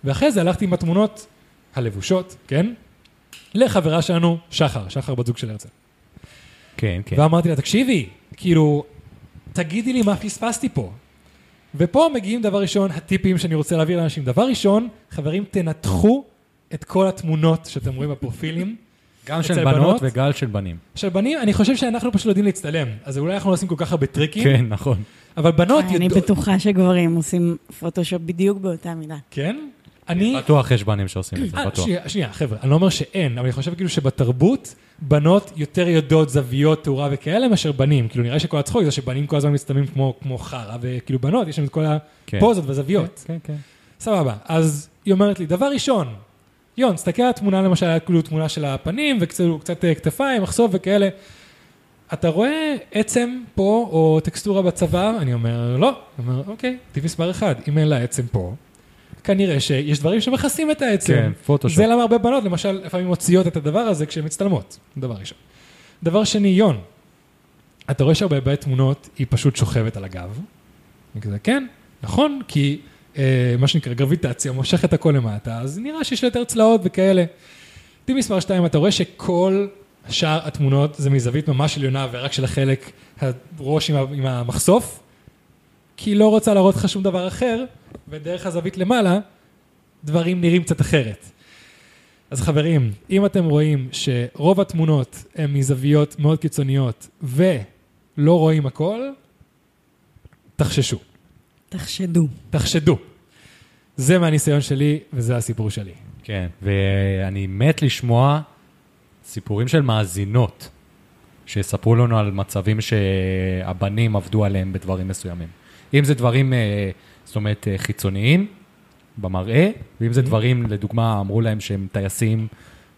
Speaker 3: ואחרי זה הלכתי עם התמונות הלבושות, כן? לחברה שלנו, שחר, שחר בת זוג של הרצל.
Speaker 1: כן, כן.
Speaker 3: ואמרתי לה, תקשיבי, כאילו, תגידי לי מה פספסתי פה. ופה מגיעים דבר ראשון, הטיפים שאני רוצה להעביר לאנשים. דבר ראשון, חברים, תנתחו את כל התמונות שאתם רואים בפרופילים.
Speaker 1: גם
Speaker 3: אצל
Speaker 1: של בנות
Speaker 3: בנות?
Speaker 1: וגל של בנים.
Speaker 3: עכשיו, בנים, אני חושב שאנחנו פשוט לא יודעים להצטלם, אז אולי אנחנו לא עושים כל כך הרבה טריקים,
Speaker 1: כן, נכון.
Speaker 3: אבל בנות
Speaker 4: אה, אני בטוחה שגברים עושים פוטושופ בדיוק באותה מידה.
Speaker 3: כן? אני...
Speaker 1: בטוח יש בנים שעושים את זה,
Speaker 3: אה,
Speaker 1: כן, בטוח.
Speaker 3: שנייה, שנייה, חבר'ה, אני לא אומר שאין, אבל אני חושב כאילו שבתרבות, בנות יותר יודעות זוויות, תאורה וכאלה, מאשר בנים. כאילו, נראה שכל הצחוק זה שבנים כל הזמן מצטלמים כמו כמו חרא, וכאילו בנות, יש להם את כל
Speaker 1: כן.
Speaker 3: הפוזות והזוויות.
Speaker 1: כן, כן.
Speaker 3: סבבה, אז היא אומרת לי, דבר ראשון, יון, תסתכל על התמונה למשל, על כאילו תמונה של הפנים וקצת קצת, אה, כתפיים, מחשוף וכאלה. אתה רואה עצם פה או טקסטורה בצבא? אני אומר, לא. אני אומר, אוקיי, טיפ מספר אחד, אם אין לה עצם פה, כנראה שיש דברים שמכסים את העצם.
Speaker 1: כן, פוטושופ.
Speaker 3: זה למה הרבה בנות, למשל, לפעמים מוציאות את הדבר הזה כשהן מצטלמות, דבר ראשון. דבר שני, יון, אתה רואה שהרבה בעיות תמונות, היא פשוט שוכבת על הגב. אני כזה, כן, נכון, כי אה, מה שנקרא גרביטציה מושכת הכל למטה, אז נראה שיש לה יותר צלעות וכאלה. טיפ מספר 2, אתה רואה שכל שאר התמונות זה מזווית ממש עליונה ורק של החלק, הראש עם, ה- עם המחשוף, כי היא לא רוצה להראות לך שום דבר אחר, ודרך הזווית למעלה, דברים נראים קצת אחרת. אז חברים, אם אתם רואים שרוב התמונות הן מזוויות מאוד קיצוניות ולא רואים הכל, תחששו,
Speaker 4: תחשדו.
Speaker 3: תחשדו. זה מהניסיון שלי וזה הסיפור שלי.
Speaker 1: כן, ואני מת לשמוע סיפורים של מאזינות שיספרו לנו על מצבים שהבנים עבדו עליהם בדברים מסוימים. אם זה דברים, אה, זאת אומרת, אה, חיצוניים במראה, ואם זה דברים, לדוגמה, אמרו להם שהם טייסים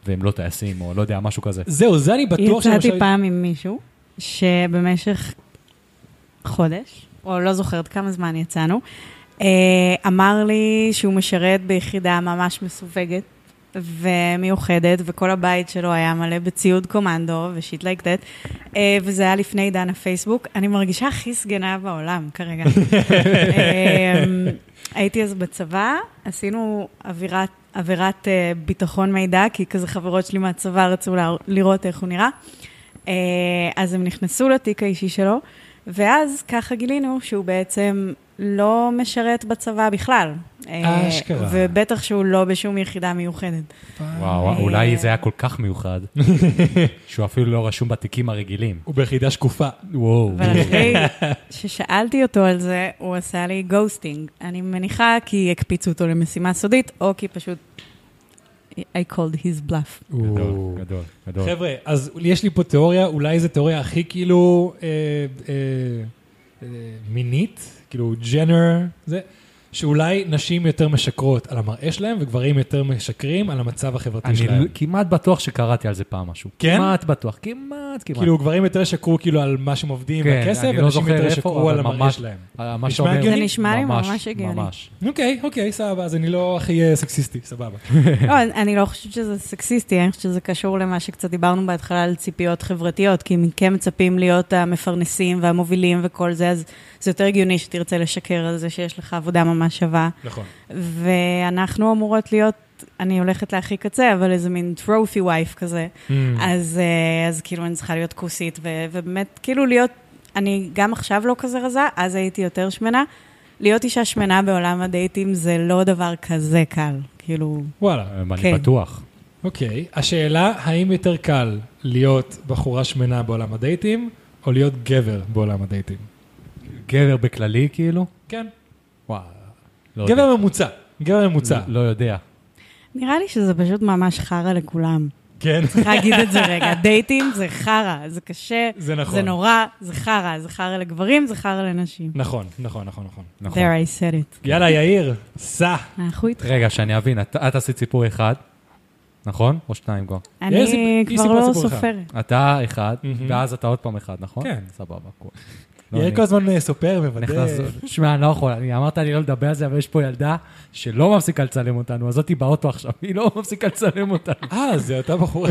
Speaker 1: והם לא טייסים, או לא יודע, משהו כזה.
Speaker 3: זהו, זה אני בטוח
Speaker 4: יצאתי
Speaker 3: שלמשל-
Speaker 4: פעם עם מישהו שבמשך חודש, או לא זוכרת כמה זמן יצאנו, אה, אמר לי שהוא משרת ביחידה ממש מסווגת ומיוחדת, וכל הבית שלו היה מלא בציוד קומנדו ושיט לייק דאט, אה, וזה היה לפני עידן הפייסבוק. אני מרגישה הכי סגנה בעולם כרגע. אה, הייתי אז בצבא, עשינו עבירת, עבירת אה, ביטחון מידע, כי כזה חברות שלי מהצבא רצו לה- לראות איך הוא נראה. אה, אז הם נכנסו לתיק האישי שלו, ואז ככה גילינו שהוא בעצם לא משרת בצבא בכלל. אה,
Speaker 3: אשכרה.
Speaker 4: ובטח שהוא לא בשום יחידה מיוחדת.
Speaker 1: וואו, אולי זה היה כל כך מיוחד, שהוא אפילו לא רשום בתיקים הרגילים.
Speaker 3: הוא ביחידה שקופה.
Speaker 1: וואו.
Speaker 4: אבל אחרי ששאלתי אותו על זה, הוא עשה לי גוסטינג. אני מניחה כי הקפיצו אותו למשימה סודית, או כי פשוט... I called his bluff.
Speaker 1: גדול, גדול, גדול.
Speaker 3: חבר'ה, אז יש לי פה תיאוריה, אולי זו תיאוריה הכי כאילו אה, אה, אה, מינית, כאילו ג'נר, זה, שאולי נשים יותר משקרות על המראה שלהם וגברים יותר משקרים על המצב החברתי
Speaker 1: אני לא-
Speaker 3: שלהם.
Speaker 1: ל- כמעט בטוח שקראתי על זה פעם משהו.
Speaker 3: כן?
Speaker 1: כמעט בטוח, כמעט, כמעט.
Speaker 3: כאילו גברים יותר שקרו כאילו על מה שהם עובדים
Speaker 1: כן,
Speaker 3: והכסף,
Speaker 1: אני לא
Speaker 3: ונשים
Speaker 1: זוכר
Speaker 3: יותר
Speaker 1: איפה,
Speaker 3: שקרו על
Speaker 1: אבל
Speaker 3: המראה
Speaker 1: ממש-
Speaker 3: שלהם.
Speaker 1: אה, מה
Speaker 3: נשמע
Speaker 1: שאומר...
Speaker 3: הגיוני?
Speaker 4: זה נשמע לי ממש הגיוני.
Speaker 1: ממש.
Speaker 3: אוקיי, אוקיי, סבבה, אז אני לא הכי אה, סקסיסטי, סבבה.
Speaker 4: לא, אני- אני לא חושבת שזה סקסיסטי, אני חושבת שזה קשור למה שקצת דיברנו בהתחלה על ציפיות חברתיות, כי מכם מצפים להיות המפרנסים והמובילים וכל זה, אז זה יותר הגיוני שתרצה לשקר על זה שיש לך עבודה ממש שווה.
Speaker 3: נכון.
Speaker 4: ואנחנו אמורות להיות, אני הולכת להכי קצה, אבל איזה מין טרופי וייף כזה.
Speaker 3: Mm.
Speaker 4: אז, אה, אז כאילו אני צריכה להיות כוסית, ו- ובאמת, כאילו להיות, אני גם עכשיו לא כזה רזה, אז הייתי יותר שמנה. להיות אישה שמנה בעולם הדייטים זה לא דבר כזה קל, כאילו...
Speaker 3: וואלה,
Speaker 1: אה, אני
Speaker 4: כן.
Speaker 1: בטוח.
Speaker 3: אוקיי. השאלה, האם יותר קל להיות בחורה שמנה בעולם הדייטים, או להיות גבר בעולם הדייטים?
Speaker 1: גבר בכללי, כאילו?
Speaker 3: כן.
Speaker 1: וואו. לא יודע.
Speaker 3: גבר ממוצע, גבר ממוצע.
Speaker 1: לא יודע.
Speaker 4: נראה לי שזה פשוט ממש חרא לכולם.
Speaker 3: כן.
Speaker 4: צריך להגיד את זה רגע, דייטים זה חרא, זה קשה,
Speaker 3: זה נכון.
Speaker 4: זה נורא, זה חרא, זה חרא לגברים, זה חרא לנשים.
Speaker 3: נכון, נכון, נכון, נכון.
Speaker 1: נכון.
Speaker 4: There I said it.
Speaker 3: יאללה, יאיר, סע.
Speaker 4: אנחנו איתך.
Speaker 1: רגע, שאני אבין, את את עשית סיפור אחד, נכון? או שניים כבר.
Speaker 3: יאיר, סיפ-
Speaker 4: אני
Speaker 3: היא
Speaker 4: כבר
Speaker 3: סיפרה
Speaker 4: לא
Speaker 3: סיפור אחד.
Speaker 4: סופרת.
Speaker 1: אתה אחד,
Speaker 3: מהמם.
Speaker 1: ואז אתה עוד פעם אחד, נכון?
Speaker 3: כן.
Speaker 1: סבבה, קול. לא,
Speaker 3: יאיר
Speaker 1: אני
Speaker 3: כל הזמן אה, סופר, מוודא.
Speaker 1: נכנס... שמע, אני לא יכול, אני אמרת לי לא לדבר על זה, אבל יש פה ילדה שלא מפסיקה לצלם אותנו, אז זאתי באוטו עכשיו, היא לא מפסיקה לצלם אותנו.
Speaker 3: אה, זה אותה בחורה.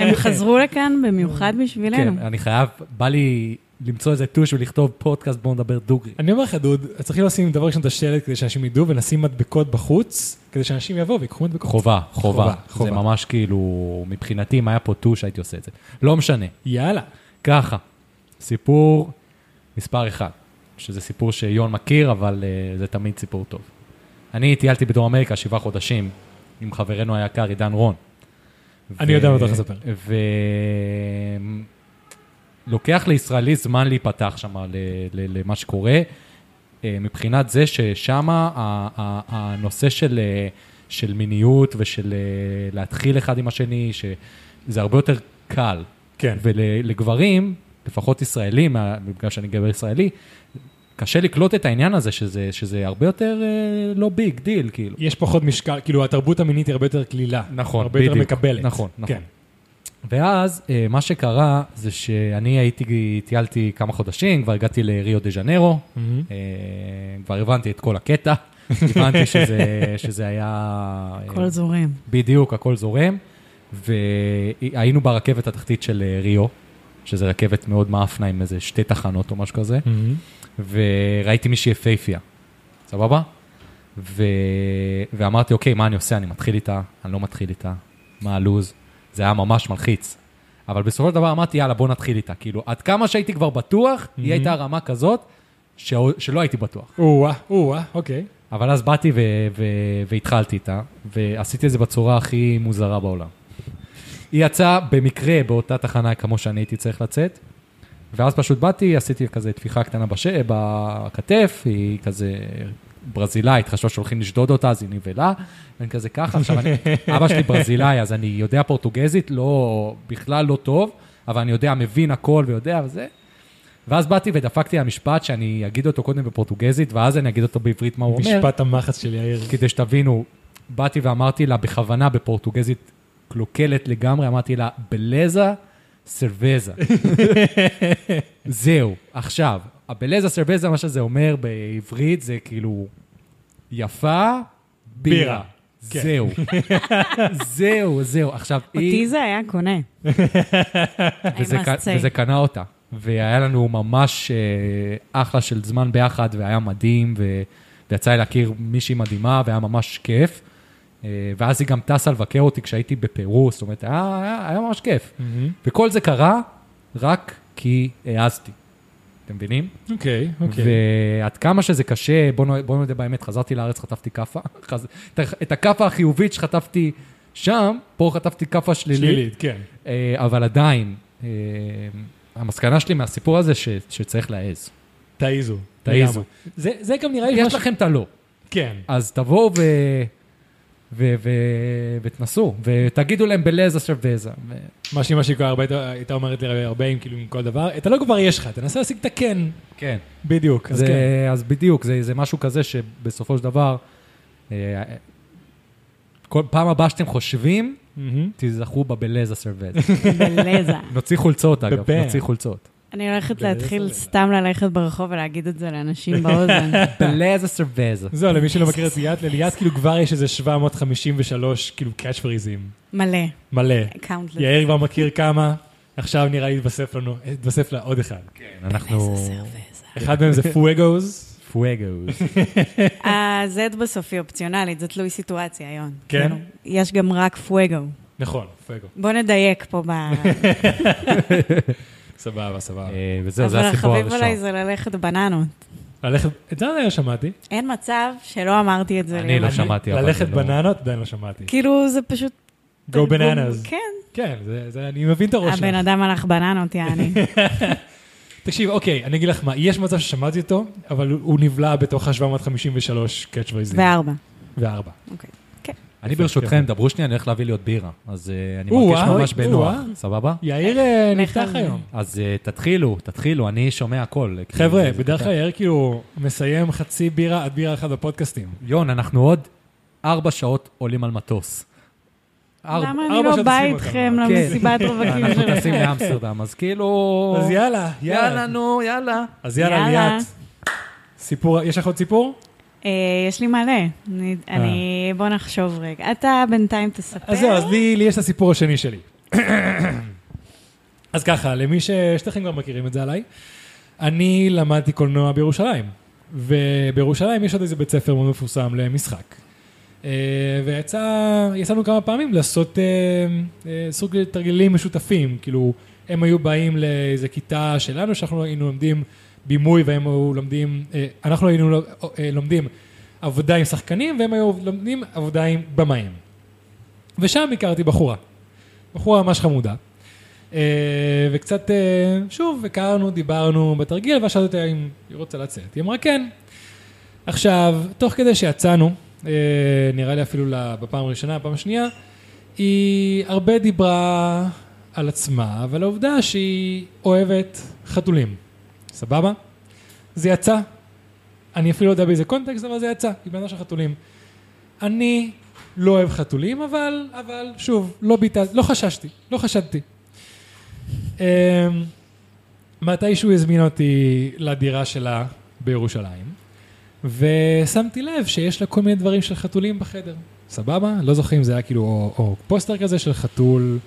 Speaker 4: הם חזרו לכאן במיוחד בשבילנו.
Speaker 1: כן, אני חייב, בא לי למצוא איזה טוש ולכתוב פודקאסט, בואו נדבר דוגרי.
Speaker 3: אני אומר לך, דוד, צריכים לשים דבר ראשון את השלט כדי שאנשים ידעו, ונשים מדבקות בחוץ, כדי שאנשים יבואו ויקחו מדבקות.
Speaker 1: חובה, חובה.
Speaker 3: חובה,
Speaker 1: זה
Speaker 3: חובה.
Speaker 1: ממש כאילו, מבחינתי, אם היה פה טוש, הייתי עושה את זה. לא משנה.
Speaker 3: יאללה.
Speaker 1: ככה, סיפור מספר אחד, שזה סיפור שיון מכיר, אבל uh, זה תמיד סיפור טוב. אני טיילתי בדרום אמריקה שבעה חודשים עם חברנו היקר עידן רון.
Speaker 3: אני יודע מה אתה הולך לספר.
Speaker 1: ולוקח לישראלי זמן להיפתח שם ל- ל- למה שקורה, אה, מבחינת זה ששם ה- ה- הנושא של, אה, של מיניות ושל אה, להתחיל אחד עם השני, שזה הרבה יותר קל.
Speaker 3: כן.
Speaker 1: ולגברים, לפחות ישראלים, מה- בגלל שאני גבר ישראלי, קשה לקלוט את העניין הזה, שזה, שזה הרבה יותר אה, לא ביג דיל, כאילו.
Speaker 3: יש פחות משקל, כאילו התרבות המינית היא הרבה יותר קלילה.
Speaker 1: נכון,
Speaker 3: הרבה יותר
Speaker 1: בדיוק.
Speaker 3: מקבלת.
Speaker 1: נכון, נכון.
Speaker 3: כן.
Speaker 1: ואז אה, מה שקרה זה שאני הייתי, טיילתי כמה חודשים, כבר הגעתי לריו דה ז'נרו,
Speaker 3: מהמם.
Speaker 1: אה, כבר הבנתי את כל הקטע, הבנתי שזה, שזה היה... אה,
Speaker 4: הכל זורם.
Speaker 1: בדיוק, הכל זורם, והיינו ברכבת התחתית של אה, ריו, שזה רכבת מאוד מאפנה עם איזה שתי תחנות או משהו כזה.
Speaker 3: Mm-hmm.
Speaker 1: וראיתי מישהי יפייפייה, סבבה? ו... ואמרתי, אוקיי, מה אני עושה? אני מתחיל איתה, אני לא מתחיל איתה, מה הלו"ז? זה היה ממש מלחיץ. אבל בסופו של דבר אמרתי, יאללה, בוא נתחיל איתה. כאילו, עד כמה שהייתי כבר בטוח, היא הייתה רמה כזאת, ש... שלא הייתי בטוח.
Speaker 3: או-אה, או-אה, אוקיי.
Speaker 1: אבל אז באתי ו... ו... והתחלתי איתה, ועשיתי את זה בצורה הכי מוזרה בעולם. היא יצאה במקרה באותה תחנה כמו שאני הייתי צריך לצאת, ואז פשוט באתי, עשיתי כזה טפיחה קטנה בש... בכתף, היא כזה ברזילאית, חשבה שהולכים לשדוד אותה, אז היא נבהלה, ואני כזה ככה, עכשיו אני, אבא שלי ברזילאי, אז אני יודע פורטוגזית, לא, בכלל לא טוב, אבל אני יודע, מבין הכל ויודע וזה. ואז באתי ודפקתי על משפט שאני אגיד אותו קודם בפורטוגזית, ואז אני אגיד אותו בעברית מה הוא אומר. כן.
Speaker 3: משפט המחץ של יאיר.
Speaker 1: כדי שתבינו, באתי ואמרתי לה בכוונה בפורטוגזית קלוקלת לגמרי, אמרתי לה, בלזה סרבזה. זהו, עכשיו, הבלזה סרבזה, מה שזה אומר בעברית, זה כאילו, יפה, בירה.
Speaker 3: בירה. כן.
Speaker 1: זהו, זהו, זהו. עכשיו,
Speaker 4: אותי זה היה קונה.
Speaker 1: וזה,
Speaker 4: I must
Speaker 1: ק-
Speaker 4: say.
Speaker 1: וזה קנה אותה. והיה לנו ממש אה, אחלה של זמן ביחד, והיה מדהים, ו... ויצא לי להכיר מישהי מדהימה, והיה ממש כיף. אה, ואז היא גם טסה לבקר אותי כשהייתי בפרו, זאת אומרת,
Speaker 3: Mm-hmm.
Speaker 1: היה, היה, היה ממש כיף. וכל זה קרה רק כי העזתי. אתם מבינים?
Speaker 3: אוקיי, אוקיי.
Speaker 1: ועד כמה שזה קשה, בואו נו- בואו נודה באמת, חזרתי לארץ, חטפתי כאפה. חז- את ה- את הכאפה החיובית שחטפתי שם, פה חטפתי כאפה שלילית.
Speaker 3: שלילית, כן.
Speaker 1: אה, אבל עדיין, אה, המסקנה שלי מהסיפור הזה ש- שצריך להעז.
Speaker 3: תעיזו.
Speaker 1: תעיזו.
Speaker 3: לגמרי. זה זה גם נראה לי
Speaker 1: יש
Speaker 3: משהו...
Speaker 1: לכם את הלא.
Speaker 3: כן.
Speaker 1: אז תבואו ו... ו... ו... ותנסו, ותגידו להם בלזה שבזה. ו...
Speaker 3: מה שאמא שלי כבר הרבה הייתה- הייתה אומרת לי הרבה עם כאילו עם כל דבר, את הלא כבר יש לך, תנסה להשיג את הכן.
Speaker 1: כן.
Speaker 3: בדיוק, אז
Speaker 1: זה...
Speaker 3: כן.
Speaker 1: אז בדיוק, זה, זה משהו כזה שבסופו של דבר, אה, כל פעם הבאה שאתם חושבים,
Speaker 3: מהמם.
Speaker 1: תיזכרו בבלזה שבזה.
Speaker 4: בלזה.
Speaker 1: נוציא חולצות, אגב,
Speaker 3: בבאר.
Speaker 1: נוציא חולצות.
Speaker 4: אני הולכת
Speaker 3: בלזה,
Speaker 4: להתחיל
Speaker 3: בלזה.
Speaker 4: סתם ללכת ברחוב ולהגיד את זה לאנשים באוזן.
Speaker 1: בלזה שבזה.
Speaker 3: זהו, למי שלא מכיר את ליאת, לליאת כאילו כבר יש איזה 753 כאילו קאץ' פריזים.
Speaker 4: מלא,
Speaker 3: מלא.
Speaker 4: קאונטלס.
Speaker 3: יאיר כבר מכיר כמה, עכשיו נראה לי התווסף לנו, התווסף לה עוד אחד.
Speaker 1: כן, אנחנו
Speaker 3: אחד מהם זה פואגוז.
Speaker 1: פואגוס.
Speaker 4: ה-Z בסוף היא אופציונלית, זה תלוי סיטואציה, יון.
Speaker 3: כן?
Speaker 4: כאילו, יש גם רק פואגו.
Speaker 3: נכון, פואגו.
Speaker 4: בוא נדייק פה ב...
Speaker 3: סבבה, סבבה.
Speaker 1: אה, וזהו,
Speaker 4: אבל
Speaker 1: זה הסיפור
Speaker 4: החביב
Speaker 1: הראשון.
Speaker 4: עליי זה ללכת בננות.
Speaker 3: ללכת, את זה עדיין לא שמעתי.
Speaker 4: אין מצב שלא אמרתי את זה.
Speaker 1: אני
Speaker 4: ליום.
Speaker 1: לא שמעתי, אבל
Speaker 3: ללכת
Speaker 1: זה לא-
Speaker 3: בננות, עדיין לא שמעתי.
Speaker 4: כאילו, זה פשוט...
Speaker 3: Go bananas.
Speaker 4: כן,
Speaker 3: כן, זה- זה- אני מבין את
Speaker 1: לא
Speaker 3: הראש
Speaker 4: הבן
Speaker 3: שלך.
Speaker 4: אדם הלך בננות, יעני.
Speaker 3: תקשיב, אוקיי, אני אגיד לך מה, יש מצב ששמעתי אותו, אבל הוא הוא נבלע בתוך ה-753 קאץ' פריזים.
Speaker 4: וארבע.
Speaker 3: וארבע.
Speaker 1: אני ברשותכם, דברו שנייה, אני הולך להביא לי עוד בירה. אז אה, אני
Speaker 3: או-אה,
Speaker 1: מרגיש ממש
Speaker 3: אוי,
Speaker 1: בנוח,
Speaker 3: או-אה.
Speaker 1: סבבה?
Speaker 3: יאיר אה,
Speaker 4: לך
Speaker 3: נפתח
Speaker 4: על זה.
Speaker 3: היום.
Speaker 1: אז אה, תתחילו, תתחילו, אני שומע הכל. אה,
Speaker 3: חבר'ה,
Speaker 1: זה-
Speaker 3: בדרך
Speaker 1: זה-
Speaker 3: כלל יאיר כאילו מסיים חצי בירה עד בירה אחת בפודקאסטים.
Speaker 1: יון, אנחנו עוד ארבע שעות עולים על מטוס. ארבע.
Speaker 4: למה
Speaker 3: ארבע אוקיי. כן.
Speaker 4: אני לא
Speaker 3: שעות
Speaker 4: באה
Speaker 3: עושים
Speaker 4: איתכם
Speaker 1: אותנו.
Speaker 4: למסיבת רווקים
Speaker 1: אנחנו
Speaker 4: שלכם?
Speaker 1: טסים לאמסטרדם, אז כאילו...
Speaker 3: אז יאללה,
Speaker 1: יאללה,
Speaker 3: יאללה.
Speaker 1: נו, יאללה.
Speaker 3: אז יאללה,
Speaker 4: יאללה.
Speaker 3: ליאת. סיפור, יש לך עוד סיפור?
Speaker 4: אה, יש לי מלא. אני- אני... בוא נחשוב רגע. אתה בינתיים תספר.
Speaker 3: אה. אז זהו, אז לי לי יש את הסיפור השני שלי. אז ככה, למי ש... שתיכם כבר מכירים את זה עליי, אני למדתי קולנוע בירושלים. ובירושלים יש עוד איזה בית ספר מאוד מפורסם למשחק. אה, ויצא, יצאנו כמה פעמים לעשות אה, אה, סוג של תרגילים משותפים, כאילו, הם היו באים לאיזה כיתה שלנו, שאנחנו היינו לומדים בימוי והם היו לומדים, אה, אנחנו היינו לומ- אה, לומדים עבודה עם שחקנים והם היו לומדים עבודה עם במאים. ושם הכרתי בחורה. בחורה ממש חמודה. אה, וקצת, אה, שוב, הכרנו, דיברנו בתרגיל, ואז שאלתי אותה אם היא רוצה לצאת. היא אמרה כן. עכשיו, תוך כדי שיצאנו, אה, נראה לי אפילו ל- בפעם הראשונה, בפעם השנייה, היא הרבה דיברה על עצמה ועל העובדה שהיא אוהבת חתולים. סבבה? זה יצא. אני אפילו לא יודע באיזה קונטקסט, אבל זה יצא. היא בן אדם של חתולים. אני לא אוהב חתולים, אבל, אבל שוב, לא ביטל, לא חששתי, לא חשדתי. אמ, מתישהו הזמין אותי לדירה שלה בירושלים, ושמתי לב שיש לה כל מיני דברים של חתולים בחדר. סבבה? לא זוכר אם זה היה כאילו או, או פוסטר כזה של חתול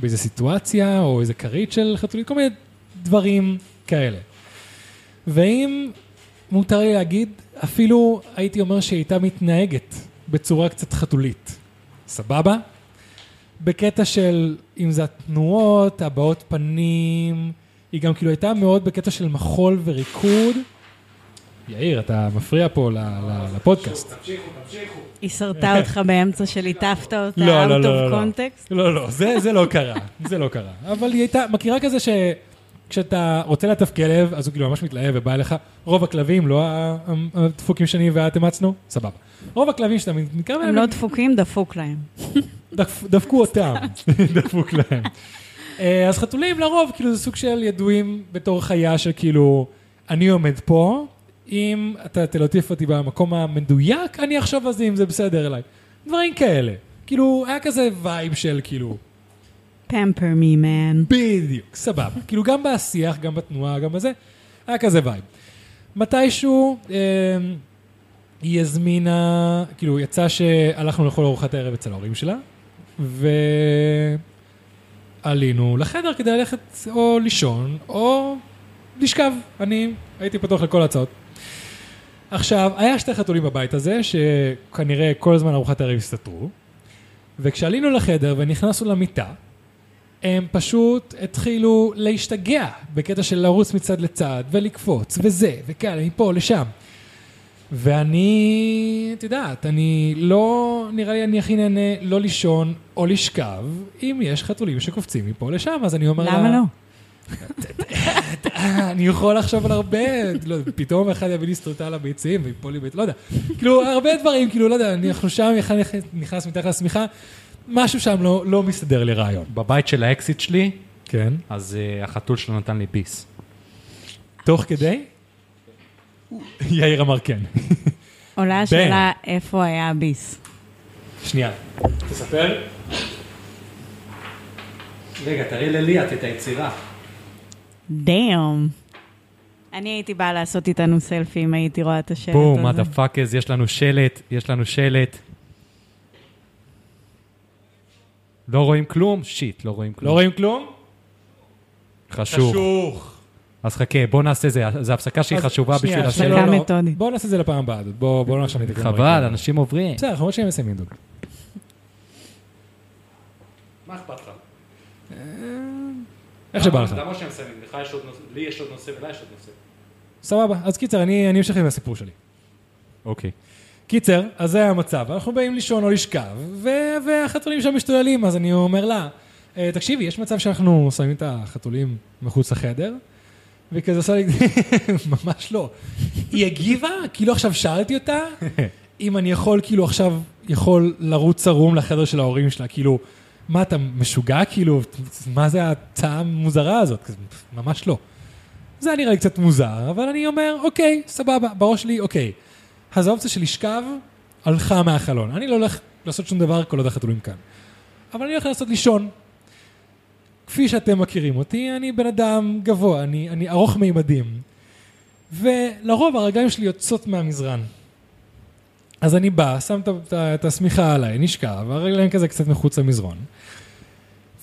Speaker 3: באיזה סיטואציה, או איזה כרית של חתולים, כל מיני דברים כאלה. ואם מותר לי להגיד, אפילו הייתי אומר שהיא הייתה מתנהגת בצורה קצת חתולית. סבבה? בקטע של, אם זה התנועות, הבעות פנים, היא גם כאילו הייתה מאוד בקטע של מחול וריקוד. יאיר, אתה מפריע פה ל- ל- לפודקאסט.
Speaker 4: היא שרטה אותך באמצע של הטפת אותה,
Speaker 3: לא, לא,
Speaker 4: out
Speaker 3: לא,
Speaker 4: of
Speaker 3: לא.
Speaker 4: context.
Speaker 3: לא, לא, זה, זה לא קרה, זה לא קרה. אבל היא הייתה, מכירה כזה שכשאתה רוצה לעטף כלב, אז הוא כאילו ממש מתלהב ובא אליך, רוב הכלבים, לא ה- ה- הדפוקים שאני ואת אימצנו, סבבה. רוב הכלבים שאתה מתקרב
Speaker 4: הם
Speaker 3: אליהם,
Speaker 4: לא דפוקים, דפוק להם.
Speaker 3: דפ- דפקו אותם, דפוק להם. אה, אז חתולים לרוב, כאילו זה סוג של ידועים בתור חיה של כאילו, אני עומד פה, אם אתה תלוטיף אותי במקום המדויק, אני אחשוב על זה אם זה בסדר אליי. דברים כאלה. כאילו, היה כזה וייב של כאילו,
Speaker 4: פמפר מי מן.
Speaker 3: בדיוק, סבבה. כאילו גם בשיח, גם בתנועה, גם בזה, היה כזה וייב. מתישהו אה, היא הזמינה, כאילו יצא שהלכנו לאכול ארוחת ערב אצל ההורים שלה, ועלינו לחדר כדי ללכת או לישון או לשכב. אני הייתי פתוח לכל ההצעות. עכשיו, היה שתי חתולים בבית הזה, שכנראה כל הזמן ארוחת ערב הסתתרו, וכשעלינו לחדר ונכנסנו למיטה, הם פשוט התחילו להשתגע בקטע של לרוץ מצד לצד ולקפוץ וזה וכאלה, מפה לשם. ואני, את יודעת, אני לא, נראה לי אני הכי נהנה לא לישון או לשכב, אם יש חתולים שקופצים מפה לשם, אז אני אומר לה...
Speaker 4: למה לא?
Speaker 3: אני יכול לחשוב על הרבה, לא, פתאום אחד יביא לי סטרוטה על הביצים ויפול לי בית, לא יודע. כאילו, הרבה דברים, כאילו, לא יודע, אנחנו שם, אחד נכנס מתחת לשמיכה, משהו שם לא, לא מסתדר לי רעיון.
Speaker 1: בבית של האקסיט שלי,
Speaker 3: כן.
Speaker 1: אז אה, החתול שלו נתן לי ביס.
Speaker 3: תוך כדי? יאיר אמר כן.
Speaker 4: עולה השאלה איפה היה הביס.
Speaker 3: שנייה. תספר.
Speaker 1: רגע, תראי לליאת את היצירה.
Speaker 4: דאם. אני הייתי באה לעשות איתנו סלפי אם הייתי רואה את
Speaker 3: כן,
Speaker 4: השלט הזה.
Speaker 1: בום, מה דה פאקז, יש לנו שלט, יש לנו שלט. לא רואים כלום? שיט, לא רואים
Speaker 3: לא
Speaker 1: כלום.
Speaker 3: רואים כלום?
Speaker 1: חשוב.
Speaker 3: חשוך. אז
Speaker 1: אז חכה, בוא נעשה זה, זו הפסקה שהיא חשובה
Speaker 3: שנייה,
Speaker 1: בשביל
Speaker 3: שנייה,
Speaker 1: השאלה.
Speaker 4: השאלה.
Speaker 3: לא, לא.
Speaker 4: מתודית.
Speaker 3: בואו נעשה את זה לפעם הבאה, דוד. בואו בואו לא עכשיו נתקדם.
Speaker 1: חבל, אנשים עוברים.
Speaker 3: בסדר, אנחנו עוד שנייה מסיימים, דוד.
Speaker 1: מה אכפת לך?
Speaker 3: איך שבא לך.
Speaker 1: למה שהם שמים? לך יש עוד נושא, לי יש עוד נושא ולה יש עוד נושא.
Speaker 3: סבבה, אז קיצר, אני אני אמשיך עם הסיפור שלי.
Speaker 1: אוקיי.
Speaker 3: קיצר, אז זה המצב, אנחנו באים לישון או לשכב, ו- והחתולים שם משתוללים, אז אני אומר לה, "אה, תקשיבי, יש מצב שאנחנו שמים את החתולים מחוץ לחדר? והיא כזה עושה לי, ממש לא. היא הגיבה, כאילו עכשיו שאלתי אותה, אם אני יכול, כאילו עכשיו, יכול לרוץ ערום לחדר של ההורים שלה, כאילו, מה, אתה משוגע? כאילו, מה זה ההצעה המוזרה הזאת? כזה, ממש לא. זה היה נראה לי קצת מוזר, אבל אני אומר, אוקיי, סבבה, בראש שלי, אוקיי. אז האופציה של לשכב הלכה מהחלון. אני לא הולך לעשות שום דבר כל עוד החתולים כאן. אבל אני הולך לעשות לישון. כפי שאתם מכירים אותי, אני בן אדם גבוה, אני, אני ארוך מימדים. ולרוב הרגליים שלי יוצאות מהמזרן. אז אני בא, שם את- את- את השמיכה עליי, נשכב, הרגליים כזה קצת מחוץ למזרון.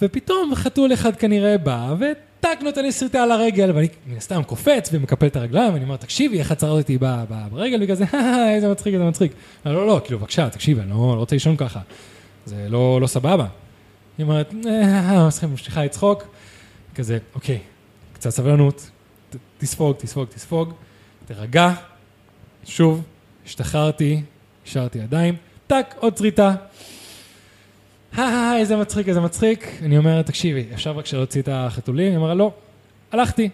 Speaker 3: ופתאום חתול אחד כנראה בא, וטק נותן לי סריטה על הרגל, ואני מן הסתם קופץ ומקפל את הרגליים, ואני אומר, תקשיבי, איך עצרת אותי ב- ב- ברגל, וכזה, "הא, איזה מצחיק, איזה מצחיק. לא, לא, לא, כאילו, בבקשה, תקשיבי, אני לא לא רוצה לישון ככה. זה לא לא סבבה. היא אומרת, "אה, מצחיק", ממשיכה לצחוק, כזה, אוקיי, קצת סבלנות, ת- תספוג, תספוג, תספוג, תירגע, שוב, השתחררתי, השארתי ידיים, טק, עוד צריטה, היי, איזה מצחיק, איזה מצחיק. אני אומר, תקשיבי, אפשר רק שלהוציא את החתולים? היא אמרה, לא. הלכתי.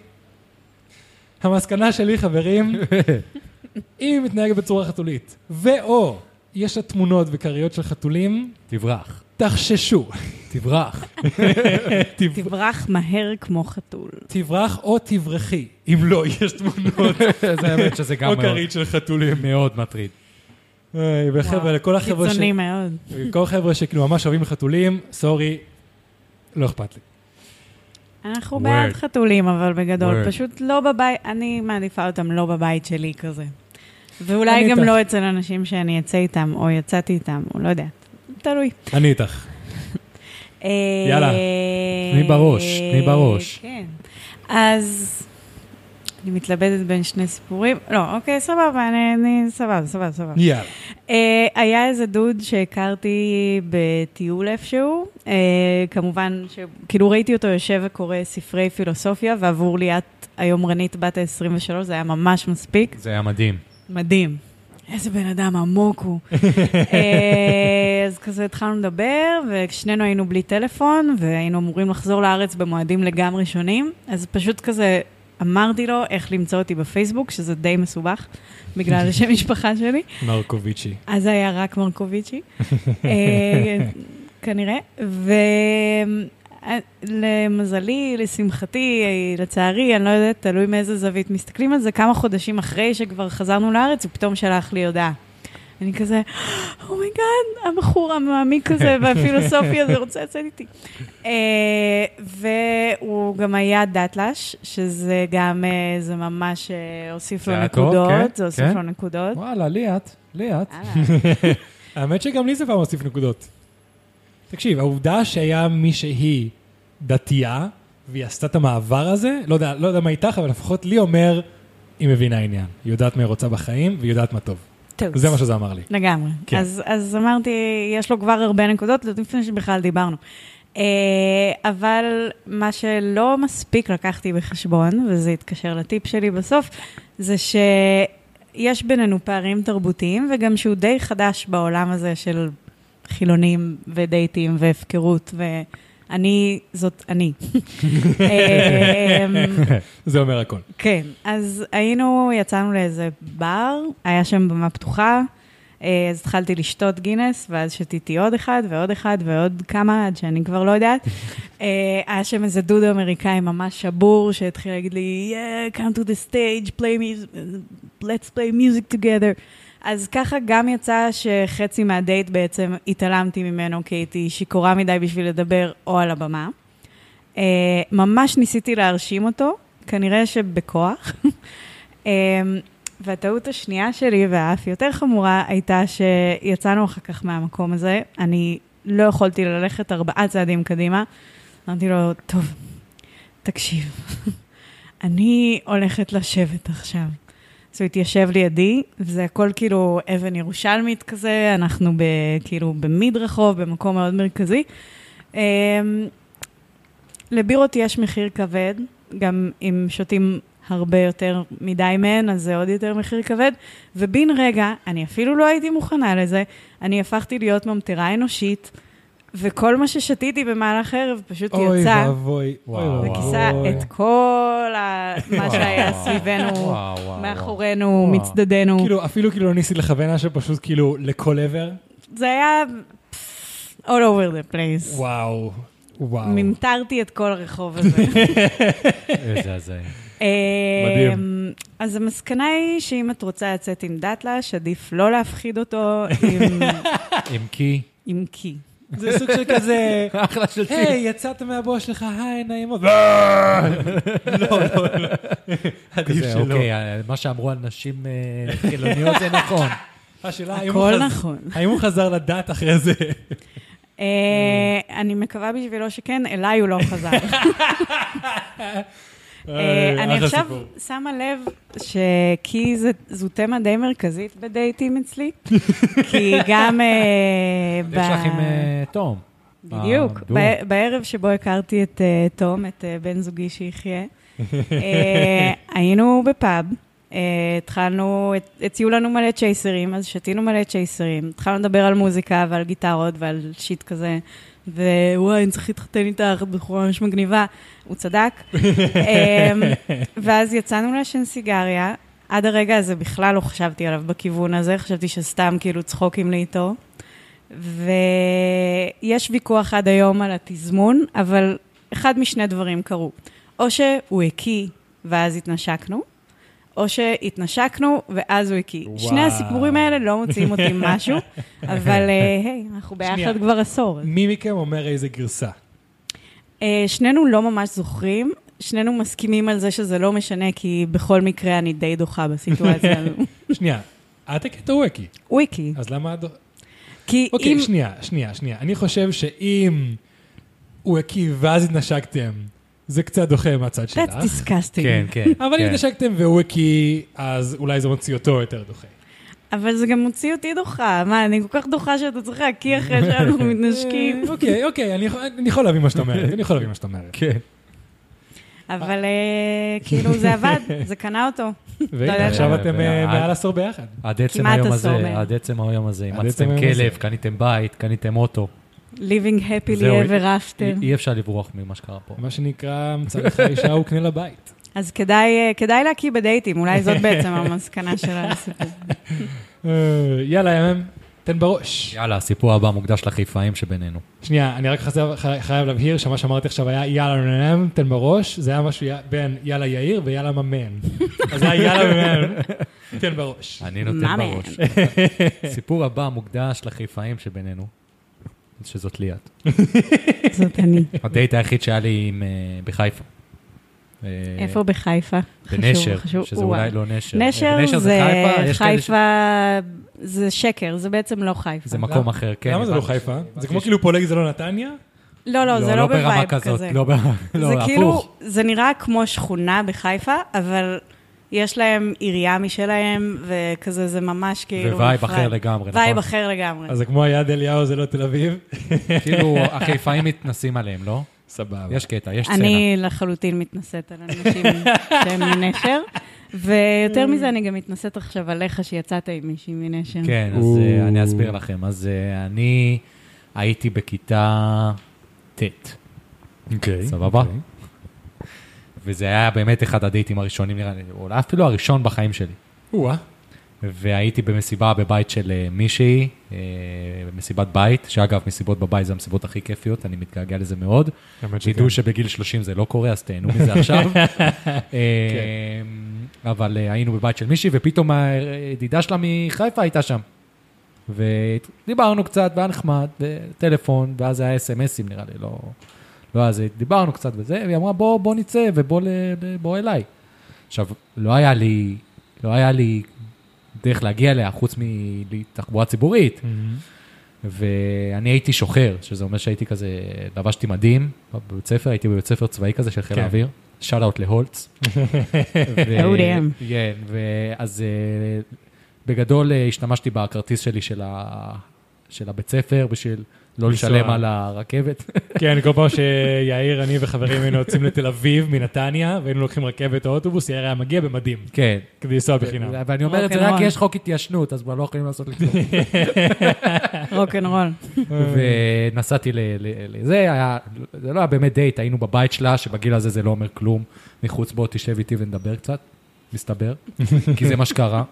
Speaker 3: המסקנה שלי, חברים, אם היא מתנהגת בצורה חתולית, ואו יש לה תמונות וכריות של חתולים,
Speaker 1: תברח.
Speaker 3: תחששו.
Speaker 1: תברח.
Speaker 3: תב-
Speaker 4: תברח מהר כמו חתול.
Speaker 3: תברח או תברחי, אם לא יש תמונות
Speaker 1: זה האמת שזה גם
Speaker 3: או
Speaker 1: מאוד-
Speaker 3: כרית של חתולים.
Speaker 1: מאוד מטריד.
Speaker 3: היי, וחבר'ה, לכל החבר'ה ש...
Speaker 4: קיצוני מאוד.
Speaker 3: כל החבר'ה שכאילו ממש אוהבים חתולים, סורי, לא אכפת לי.
Speaker 4: אנחנו
Speaker 1: Word.
Speaker 4: בעד חתולים, אבל בגדול,
Speaker 1: Word.
Speaker 4: פשוט לא בבית, אני מעדיפה אותם לא בבית שלי כזה. ואולי
Speaker 3: אני
Speaker 4: גם
Speaker 3: איתך.
Speaker 4: לא אצל אנשים שאני אצא איתם, או יצאתי איתם, או לא יודעת. תלוי.
Speaker 3: אני איתך.
Speaker 4: אה,
Speaker 3: יאללה.
Speaker 1: תני בראש, תני בראש.
Speaker 4: כן. אז אני מתלבטת בין שני סיפורים. לא, אוקיי, סבבה, אני, אני סבבה, סבבה, סבבה.
Speaker 3: יאללה.
Speaker 4: אה, היה איזה דוד שהכרתי בטיול איפשהו, אה, כמובן שכאילו ראיתי אותו יושב וקורא ספרי פילוסופיה, ועבור ליאת היומרנית בת ה-23 זה היה ממש מספיק.
Speaker 1: זה היה מדהים.
Speaker 4: מדהים. איזה בן אדם עמוק הוא. אה, אז כזה התחלנו לדבר, ושנינו היינו בלי טלפון, והיינו אמורים לחזור לארץ במועדים לגמרי שונים. אז פשוט כזה אמרתי לו איך למצוא אותי בפייסבוק, שזה די מסובך, בגלל השם משפחה שלי.
Speaker 3: מרקוביצ'י.
Speaker 4: אז זה היה רק מרקוביצ'י, אה, כנראה. ולמזלי, לשמחתי, אה, לצערי, אני לא יודעת, תלוי מאיזה זווית מסתכלים על זה, כמה חודשים אחרי שכבר חזרנו לארץ, הוא פתאום שלח לי הודעה. אני כזה, אומייגאד, הבחור המעמיק הזה והפילוסופי הזה רוצה לצאת איתי. אה, והוא גם היה דתל"ש, שזה גם, אה, זה ממש אה, הוסיף
Speaker 1: זה
Speaker 4: לו
Speaker 1: היה טוב, כן,
Speaker 4: נקודות, זה הוסיף
Speaker 1: כן.
Speaker 4: לו נקודות.
Speaker 1: וואלה, ליאת, ליאת.
Speaker 4: הלאה.
Speaker 3: האמת שגם לי זה כבר מוסיף נקודות. תקשיב, העובדה שהיה מי שהיא דתייה, והיא עשתה את המעבר הזה, לא יודע, לא יודע מה איתך, אבל לפחות לי אומר, היא מבינה עניין. היא יודעת מה היא רוצה בחיים, והיא יודעת מה טוב.
Speaker 4: טוב.
Speaker 3: זה מה שזה אמר לי.
Speaker 4: לגמרי.
Speaker 3: כן.
Speaker 4: כן. אז, אז אמרתי, יש לו כבר הרבה נקודות, עוד לפני שבכלל דיברנו. Uh, אה, אבל מה שלא מספיק לקחתי בחשבון, וזה התקשר לטיפ שלי בסוף, זה שיש בינינו פערים תרבותיים, וגם שהוא די חדש בעולם הזה של חילונים ודייטים והפקרות, ואני, זאת אני. אה,
Speaker 3: זה אומר הכל.
Speaker 4: כן, אז היינו, יצאנו לאיזה בר, היה שם במה פתוחה, אה, אז התחלתי לשתות גינס, ואז שתיתי עוד אחד ועוד אחד ועוד כמה, עד שאני כבר לא יודעת. אה, היה שם איזה דוד אמריקאי ממש שבור, שהתחיל להגיד לי, yeah, come to the stage, play music, let's play music together. אז ככה גם יצא שחצי מהדייט בעצם התעלמתי ממנו, כי הייתי שיכורה מדי בשביל לדבר או על הבמה. אה, ממש ניסיתי להרשים אותו, כנראה שבכוח. אה, והטעות השנייה שלי, והאף יותר חמורה, הייתה שיצאנו אחר כך מהמקום הזה. אני לא יכולתי ללכת ארבעה צעדים קדימה. אמרתי לו, טוב, תקשיב, אני הולכת לשבת עכשיו. אז הוא התיישב לידי, וזה הכל כאילו אבן ירושלמית כזה, אנחנו ב, כאילו במיד רחוב, במקום מאוד מרכזי. אמ, לבירות יש מחיר כבד, גם אם שותים הרבה יותר מדי מהן, אז זה עוד יותר מחיר כבד. ובן רגע, אני אפילו לא הייתי מוכנה לזה, אני הפכתי להיות ממטרה אנושית, וכל מה ששתיתי במהלך הערב פשוט
Speaker 3: אוי
Speaker 4: יצא.
Speaker 3: ואבוי, אוי
Speaker 1: וואו.
Speaker 3: ואבוי.
Speaker 4: וכיסה את כל ה- מה שהיה
Speaker 1: וואו.
Speaker 3: אה,
Speaker 4: סביבנו,
Speaker 1: וואו, וואו,
Speaker 4: מאחורינו,
Speaker 3: וואו.
Speaker 4: מצדדנו.
Speaker 3: כאילו, אפילו כאילו לא ניסית לכוון משהו, פשוט כאילו לכל עבר.
Speaker 4: זה היה פס, all over the place.
Speaker 3: וואו, וואו.
Speaker 4: ממטרתי את כל הרחוב הזה.
Speaker 1: איזה הזיה.
Speaker 3: מדהים.
Speaker 4: אמ, אז המסקנה היא שאם את רוצה לצאת עם דאטלש, עדיף לא להפחיד אותו עם-
Speaker 1: עם קי.
Speaker 4: עם קי.
Speaker 3: זה סוג של כזה,
Speaker 1: אחלה של טיפ.
Speaker 3: היי, יצאת מהבוס שלך, היי, נעים מאוד. לא, לא, לא. עדיף
Speaker 1: כזה,
Speaker 3: שלא.
Speaker 1: אוקיי, אה, מה שאמרו על נשים אה, חילוניות זה נכון.
Speaker 3: השאלה, האם הוא
Speaker 4: הכל
Speaker 3: חז-
Speaker 4: נכון.
Speaker 3: האם הוא חזר לדת אחרי זה?
Speaker 4: אה, אני מקווה בשבילו שכן, אליי הוא לא חזר. אה,
Speaker 3: אה,
Speaker 4: אני
Speaker 3: אחלה
Speaker 4: עכשיו
Speaker 3: סיפור.
Speaker 4: שמה לב שכי זה- זו תמה די מרכזית בדייטים אצלי, כי גם... אה, ב-
Speaker 1: יש לך עם אה, תום.
Speaker 4: בדיוק.
Speaker 1: הדו.
Speaker 4: ב- בערב שבו הכרתי את אה, תום, את אה, בן זוגי שיחיה, אה, היינו בפאב, אה, התחלנו, הציעו לנו מלא צ'ייסרים, אז שתינו מלא צ'ייסרים, התחלנו לדבר על מוזיקה ועל גיטרות ועל שיט כזה, ווואי, אני צריך להתחתן איתך, בחורה ממש מגניבה. הוא צדק. אה, ואז יצאנו לעשן סיגריה. עד הרגע הזה בכלל לא חשבתי עליו בכיוון הזה, חשבתי שסתם כאילו צחוקים לי איתו. ויש ויכוח עד היום על התזמון, אבל אחד משני דברים קרו. או שהוא הקיא ואז התנשקנו, או שהתנשקנו ואז הוא הקיא.
Speaker 3: וואו.
Speaker 4: שני הסיפורים האלה לא מוציאים אותי משהו, אבל אה, היי, אנחנו
Speaker 3: שנייה.
Speaker 4: ביחד כבר עשור. אז
Speaker 3: מי מכם אומר איזה גרסה?
Speaker 4: אה, שנינו לא ממש זוכרים, שנינו מסכימים על זה שזה לא משנה, כי בכל מקרה אני די דוחה בסיטואציה הזו.
Speaker 3: שנייה, את הקטע ווקי,
Speaker 4: וויקי.
Speaker 3: אז למה את...
Speaker 4: כי
Speaker 3: אוקיי,
Speaker 4: אם...
Speaker 3: שנייה, שנייה, שנייה. אני חושב שאם הוא הקיא ואז התנשקתם, זה קצת דוחה מהצד שלך.
Speaker 4: That's disgusting.
Speaker 1: כן, כן.
Speaker 3: אבל אם
Speaker 1: כן.
Speaker 3: התנשקתם והוא הקיא, אז אולי זה מוציא אותו יותר דוחה.
Speaker 4: אבל זה גם מוציא אותי דוחה. מה, אני כל כך דוחה שאתה צריך להקיא אחרי שאנחנו מתנשקים.
Speaker 3: אה, אוקיי, אוקיי, אני יכול- אני יכול להבין מה שאת אומרת, אני יכול להבין מה שאת אומרת.
Speaker 1: כן.
Speaker 4: אבל אה, כאילו זה עבד, זה קנה אותו.
Speaker 3: והנה,
Speaker 4: יודע.
Speaker 3: עכשיו אתם אה,
Speaker 1: אה,
Speaker 3: מעל עשור ביחד.
Speaker 1: עד עצם
Speaker 4: כמעט
Speaker 1: היום
Speaker 4: עשור מהם.
Speaker 1: הזה, עד עצם היום הזה,
Speaker 3: עד
Speaker 1: אימצתם
Speaker 3: עצם היום
Speaker 1: כלב,
Speaker 3: הזה.
Speaker 1: קניתם בית, קניתם אוטו.
Speaker 4: Living happily
Speaker 1: זהו, אה,
Speaker 4: ever
Speaker 1: אי
Speaker 4: after.
Speaker 1: אי אפשר לברוח ממה שקרה פה.
Speaker 3: מה שנקרא, מצא לך אישה הוא קנה לה בית.
Speaker 4: אז כדאי אה, כדאי להקיא בדייטים, אולי זאת בעצם המסקנה של הסיפור.
Speaker 3: אה, יאללה, ימם, תן בראש.
Speaker 1: יאללה, הסיפור הבא מוקדש לחיפאים שבינינו.
Speaker 3: שנייה, אני רק חייב- חי- חייב להבהיר שמה שאמרתי עכשיו היה יאללה מ"מ, תן בראש, זה היה משהו יא- בין יאללה יאיר ויאללה ממן. אז זה היה יאללה מ"מ, תן בראש.
Speaker 1: אני נותן
Speaker 4: מאמן.
Speaker 1: בראש. הסיפור הבא מוקדש לחיפאים שבינינו, שזאת ליאת.
Speaker 4: זאת אני.
Speaker 1: הדייט היחיד שהיה לי עם, אה, בחיפה. אה,
Speaker 4: איפה בחיפה?
Speaker 1: בנשר,
Speaker 4: חשוב,
Speaker 1: שזה
Speaker 4: וואי.
Speaker 1: אולי לא נשר.
Speaker 4: נשר זה
Speaker 1: יש כאלה ש-
Speaker 4: חיפה, זה שקר, זה בעצם לא חיפה.
Speaker 1: זה מקום אחר, כן.
Speaker 3: למה זה לא
Speaker 1: הבנתי.
Speaker 3: חיפה? זה כמו
Speaker 1: הבנתי
Speaker 3: כאילו פולג זה לא נתניה?
Speaker 4: לא, לא, זה לא בווייב כזה.
Speaker 1: לא ברמה כזאת, לא, ב- לא,
Speaker 4: זה
Speaker 1: הפוך.
Speaker 4: כאילו, זה נראה כמו שכונה בחיפה, אבל יש להם עירייה משלהם, וכזה זה ממש כאילו...
Speaker 1: ווייב
Speaker 4: נפרד.
Speaker 1: אחר לגמרי,
Speaker 4: וייב
Speaker 1: נכון?
Speaker 4: אחר לגמרי.
Speaker 3: אז זה כמו היד אליהו, זה לא תל אביב?
Speaker 1: כאילו, החיפאים מתנסים עליהם, לא?
Speaker 3: סבבה.
Speaker 1: יש קטע, יש סצנה.
Speaker 4: אני לחלוטין מתנשאת על אנשים שהם מנשר, ויותר מזה, אני גם מתנשאת עכשיו עליך שיצאת עם מישהי מנשר.
Speaker 1: כן, אז
Speaker 3: או.
Speaker 1: אה, אני אסביר לכם. אז אה, אני הייתי בכיתה ט',
Speaker 3: אוקיי.
Speaker 1: סבבה? וזה היה באמת אחד הדייטים הראשונים, נראה לי, או אפילו הראשון בחיים שלי.
Speaker 3: או-אה.
Speaker 1: והייתי במסיבה בבית של אה, מישהי, אה, במסיבת בית, שאגב, מסיבות בבית זה המסיבות הכי כיפיות, אני מתגעגע לזה מאוד.
Speaker 3: האמת שכן. כן.
Speaker 1: תדעו שבגיל 30 זה לא קורה, אז תהנו מזה עכשיו. אה, אבל אה, היינו בבית של מישהי, ופתאום הידידה שלה מחיפה הייתה שם. ודיברנו קצת, והיה נחמד, וטלפון, ואז היה אס.אם.אסים נראה לי, לא... לא, אז דיברנו קצת וזה, והיא אמרה, בוא, בוא נצא ובוא ל, ל, בוא אליי. עכשיו, לא היה לי, לא היה לי דרך להגיע אליה חוץ מתחבורה ציבורית.
Speaker 3: מהמם.
Speaker 1: ואני הייתי שוחר, שזה אומר שהייתי כזה, לבשתי מדים בבית ספר, הייתי בבית ספר צבאי כזה של חיל
Speaker 3: כן.
Speaker 1: האוויר, שאט אאוט להולץ.
Speaker 4: Oh damn.
Speaker 1: כן, ואז אה, בגדול אה, השתמשתי בכרטיס שלי של ה- של הבית ספר בשביל לא
Speaker 3: לנסוע.
Speaker 1: לשלם על הרכבת.
Speaker 3: כן, כל פעם שיאיר, אני וחברים היינו יוצאים לתל אביב מנתניה, והיינו לוקחים רכבת או אוטובוס, יאיר היה מגיע במדים,
Speaker 1: כן.
Speaker 3: כדי לנסוע לא בחינם.
Speaker 1: ואני אומר את זה
Speaker 4: רוקנרול.
Speaker 1: רק כי יש חוק התיישנות, אז כבר לא יכולים לעשות לי כלום.
Speaker 4: רוקנרול.
Speaker 1: ונסעתי ל- ל- לזה, היה- זה לא היה באמת דייט, היינו בבית שלה, שבגיל הזה זה לא אומר כלום. מחוץ בוא תשב איתי ונדבר קצת, מסתבר, כי זה מה שקרה.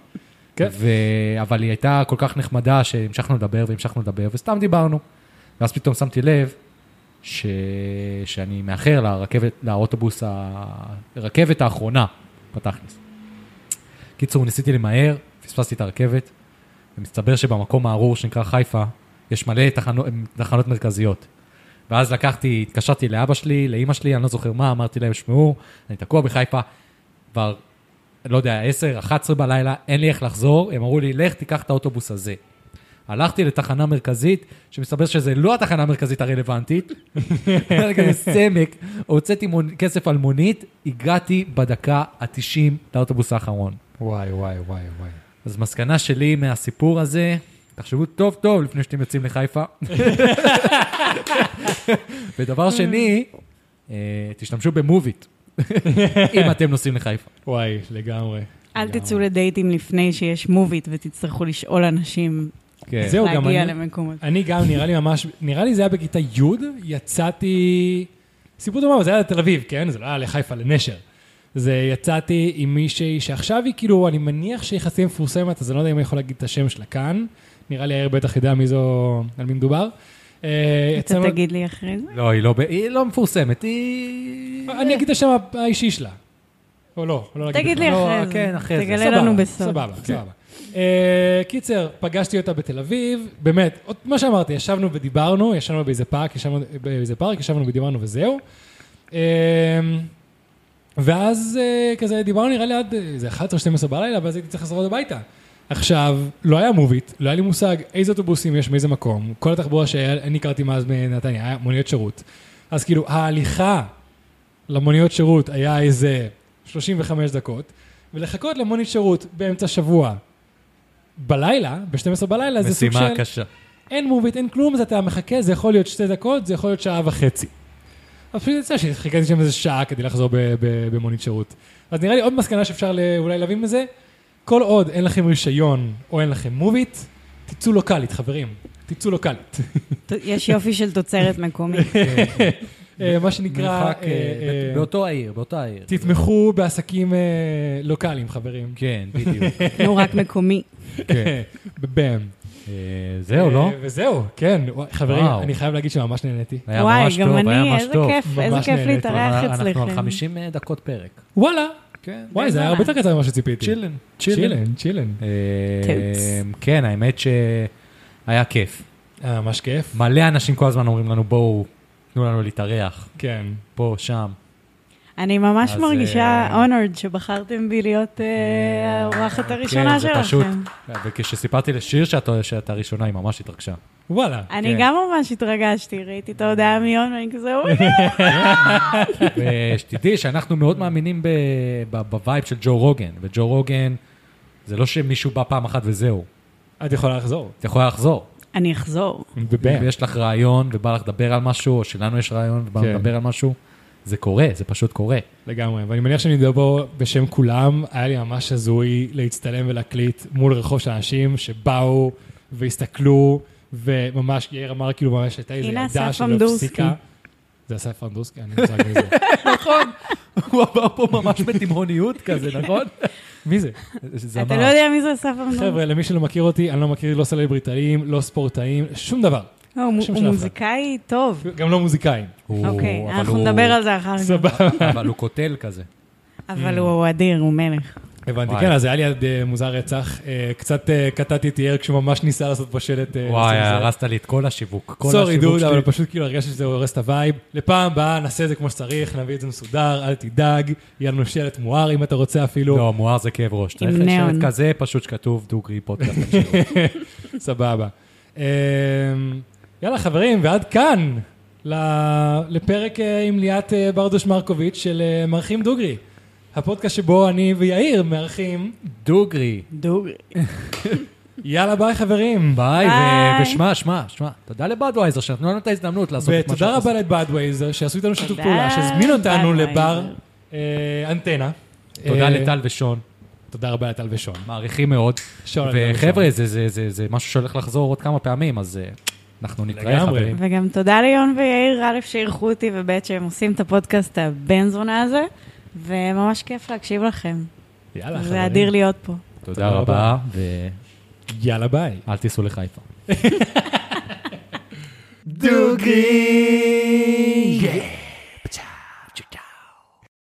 Speaker 3: כן.
Speaker 1: ו- אבל היא הייתה כל כך נחמדה שהמשכנו לדבר והמשכנו לדבר, וסתם דיברנו. ואז פתאום שמתי לב ש... שאני מאחר לרכבת, לאוטובוס, ה- הרכבת האחרונה, בתכלס. קיצור, ניסיתי למהר, פספסתי את הרכבת, ומסתבר שבמקום הארור שנקרא חיפה, יש מלא תחנו, תחנות מרכזיות. ואז לקחתי, התקשרתי לאבא שלי, לאימא שלי, אני לא זוכר מה, אמרתי להם, שמעו, אני תקוע בחיפה, כבר, לא יודע, 10, 11 בלילה, אין לי איך לחזור, הם אמרו לי, לך תיקח את האוטובוס הזה. הלכתי לתחנה מרכזית, שמסתבר שזה לא התחנה המרכזית הרלוונטית, היה לי כזה סמק, הוצאתי מונ- כסף על מונית, הגעתי בדקה ה-90 לאוטובוס האחרון.
Speaker 3: וואי, וואי, וואי, וואי.
Speaker 1: אז מסקנה שלי מהסיפור הזה, תחשבו טוב טוב לפני שאתם יוצאים לחיפה. ודבר שני, אה, תשתמשו במוביט, אם אתם נוסעים לחיפה.
Speaker 3: וואי, לגמרי.
Speaker 4: אל תצאו לדייטים לפני שיש מובית ותצטרכו לשאול אנשים
Speaker 1: כן.
Speaker 3: זהו, גם
Speaker 4: להגיע
Speaker 3: אני-
Speaker 4: למקומות.
Speaker 3: אני גם, נראה לי ממש, נראה לי זה היה בכיתה י', יצאתי, סיפור דומה, אבל זה היה לתל אביב, כן? זה לא היה לחיפה, לנשר. זה יצאתי עם מישהי שעכשיו היא כאילו, אני מניח שהיא יחסית מפורסמת, אז אני לא יודע אם אני יכול להגיד את השם שלה כאן. נראה לי יאיר בטח ידע מי זו, על מי מדובר. אה,
Speaker 4: אתה
Speaker 3: יצאנו-
Speaker 4: תגיד לי אחרי זה?
Speaker 1: לא, היא לא, ב- היא לא מפורסמת, היא...
Speaker 3: אני אגיד את השם האישי שלה. או לא, לא להגיד
Speaker 4: תגיד
Speaker 3: לך.
Speaker 4: לי
Speaker 1: לא,
Speaker 4: אחרי זה.
Speaker 1: כן, אחרי זה.
Speaker 4: תגלה
Speaker 3: סבבה,
Speaker 4: לנו כן. בסוד.
Speaker 3: סבבה, סבבה. אה, קיצר, פגשתי אותה בתל אביב, באמת, עוד- מה שאמרתי, ישבנו ודיברנו, ישבנו באיזה פארק, ישבנו באיזה פארק, ישבנו ודיברנו וזהו. אה, ואז אה, כזה דיברנו נראה לי עד אה, איזה 11 או 12 בלילה, ואז הייתי צריך לחזור עוד הביתה. עכשיו, לא היה מובית, לא היה לי מושג איזה אוטובוסים יש מאיזה מקום. כל התחבורה שאני הכרתי מאז מנתניה, היה מוניות שירות. אז כאילו, ההליכה למוניות שירות היה איזה 35 דקות, ולחכות למונית שירות באמצע שבוע, בלילה, ב-12 בלילה, זה סוג של...
Speaker 1: משימה קשה.
Speaker 3: אין מובית, אין כלום, אז אתה מחכה, זה יכול להיות שתי דקות, זה יכול להיות שעה וחצי. אז פשוט יצא שחיכיתי שם איזה שעה כדי לחזור ב- ב- במונית שירות. אז נראה לי עוד מסקנה שאפשר ל- אולי להביא מזה, כל עוד אין לכם רישיון או אין לכם מובית, תצאו לוקאלית, חברים. תצאו לוקאלית.
Speaker 4: ת- יש יופי של תוצרת מקומית.
Speaker 3: אה, מה שנקרא,
Speaker 1: מרחק,
Speaker 3: אה,
Speaker 1: אה,
Speaker 3: אה,
Speaker 1: באותו העיר, באותו העיר.
Speaker 3: תתמכו בעסקים אה, לוקאליים, חברים.
Speaker 1: כן, בדיוק.
Speaker 4: נו, רק מקומי.
Speaker 1: כן.
Speaker 3: בבאם.
Speaker 1: אה, זהו, לא?
Speaker 3: אה, וזהו, כן. וואי, חברים,
Speaker 1: וואו.
Speaker 3: אני חייב להגיד שממש נהניתי.
Speaker 1: היה
Speaker 4: וואי,
Speaker 1: ממש
Speaker 4: גם
Speaker 1: טוב, היה
Speaker 4: אני,
Speaker 1: ממש
Speaker 4: איזה
Speaker 1: טוב.
Speaker 4: כיף, איזה
Speaker 3: ממש
Speaker 4: כיף
Speaker 3: נהניתי.
Speaker 4: להתארח
Speaker 1: אנחנו על
Speaker 4: אצלכם.
Speaker 1: 50 דקות פרק.
Speaker 3: וואלה.
Speaker 1: כן.
Speaker 3: וואי, זה היה הרבה יותר קצר ממה שציפיתי.
Speaker 1: צ'ילן.
Speaker 3: צ'ילן, צ'ילן.
Speaker 1: אה,
Speaker 4: טוץ.
Speaker 1: כן, האמת שהיה כיף.
Speaker 3: היה אה, ממש כיף.
Speaker 1: מלא אנשים כל הזמן אומרים לנו, בואו, תנו לנו להתארח,
Speaker 3: כן.
Speaker 1: פה, שם.
Speaker 4: אני ממש
Speaker 1: אז,
Speaker 4: מרגישה
Speaker 1: אה,
Speaker 4: honored שבחרתם בי להיות אה, האורחת הראשונה
Speaker 1: כן, זה פשוט.
Speaker 4: שלכם.
Speaker 1: וכשסיפרתי לשיר שאתה- שאתה ראשונה, היא ממש התרגשה.
Speaker 3: וואלה.
Speaker 4: אני
Speaker 1: כן.
Speaker 4: גם ממש התרגשתי, ראיתי את ההודעה מיון, ואני כזה, אוי,
Speaker 1: ושתדעי שאנחנו מאוד מאמינים ב- ב- בווייב של ג'ו רוגן, וג'ו רוגן, זה לא שמישהו בא פעם אחת וזהו.
Speaker 3: את יכולה לחזור.
Speaker 1: את יכולה לחזור.
Speaker 4: אני אחזור.
Speaker 1: אם
Speaker 3: בבאם.
Speaker 1: יש לך רעיון ובא לך לדבר על משהו, או שלנו יש רעיון ובא לך
Speaker 3: כן.
Speaker 1: לדבר על משהו, זה קורה, זה פשוט קורה.
Speaker 3: לגמרי, ואני מניח שאני מדבר בשם כולם, היה לי ממש הזוי להצטלם ולהקליט מול רחוב של אנשים שבאו והסתכלו, וממש יאיר אמר כאילו ממש הייתה איזו
Speaker 4: הנה
Speaker 3: ילדה
Speaker 4: אסף
Speaker 3: שלא
Speaker 4: אמדורסקי.
Speaker 3: הפסיקה. זה אסף אמדורסקי, אני לא מוזג מזה.
Speaker 1: נכון. הוא עבר פה ממש בתימהוניות כזה, נכון?
Speaker 3: מי זה?
Speaker 1: זה
Speaker 4: אתה לא יודע מי זה אסף אמנון.
Speaker 3: חבר'ה, למי שלא מכיר אותי, אני לא מכיר לא סלבריטאים, לא ספורטאים, שום דבר.
Speaker 4: לא,
Speaker 3: השם
Speaker 4: הוא הוא
Speaker 3: של אף אחד.
Speaker 4: מוזיקאי טוב.
Speaker 3: גם לא מוזיקאים.
Speaker 4: אוקיי, אנחנו נדבר על זה אחר כך.
Speaker 3: סבבה.
Speaker 1: אבל הוא קוטל כזה.
Speaker 4: אבל הוא אדיר, הוא מלך.
Speaker 3: הבנתי,
Speaker 1: וואי.
Speaker 3: כן, אז היה לי עד אה, מוזר רצח. אה, קצת אה, קטעתי את יאיר כשהוא ממש ניסה לעשות פה שלט. אה,
Speaker 1: וואי,
Speaker 3: לשים זה.
Speaker 1: הרסת לי את כל השיווק. כל
Speaker 3: סורי
Speaker 1: השיווק
Speaker 3: דוד,
Speaker 1: שלי.
Speaker 3: אבל פשוט כאילו הרגשתי שזה הורס את הווייב. לפעם הבאה נעשה את זה כמו שצריך, נביא את זה מסודר, אל תדאג, יהיה לנו שלט מואר אם אתה רוצה אפילו,
Speaker 1: לא, מואר זה כאב ראש. צריך
Speaker 4: נאון.
Speaker 1: לשבת כזה, פשוט שכתוב דוגרי פודקאסט.
Speaker 3: סבבה. אמ, יאללה חברים, ועד כאן ל- לפרק אה, עם ליאת אה, ברדוש מרקוביץ' של אה, מארחים דוגרי. הפודקאסט שבו אני ויאיר מארחים.
Speaker 1: דוגרי.
Speaker 4: דוגרי.
Speaker 3: יאללה ביי חברים.
Speaker 1: ביי, ו-
Speaker 4: ביי.
Speaker 1: ושמע, שמע, שמע, תודה לבדווייזר שנתנו לנו את ההזדמנות לעשות את מה
Speaker 3: ותודה
Speaker 1: שאנחנו
Speaker 3: רבה לבאדווייזר שעשו איתנו שיתוף
Speaker 4: תודה,
Speaker 3: פעולה, שהזמינו אותנו
Speaker 4: Budweiser.
Speaker 3: לבר אה, אנטנה.
Speaker 1: עושים. תודה
Speaker 3: אה,
Speaker 1: לטל ושון,
Speaker 3: תודה רבה לטל ושון.
Speaker 1: מעריכים מאוד.
Speaker 3: שון, לטל ושון.
Speaker 1: וחבר'ה, זה- זה- זה זה משהו שהולך לחזור עוד כמה פעמים, אז אה, אנחנו נתראה,
Speaker 3: לגמרי.
Speaker 1: חברים.
Speaker 4: וגם תודה ליון ויאיר, א', שאירחו אותי, וב', שהם עושים את הפודקאסט הבן זונה הזה, וממש כיף להקשיב לכם.
Speaker 3: יאללה,
Speaker 4: זה אדיר להיות פה.
Speaker 1: תודה
Speaker 3: רבה.
Speaker 1: רבה,
Speaker 3: יאללה, ביי.
Speaker 1: ואל תיסעו לחיפה.
Speaker 3: דוגרי!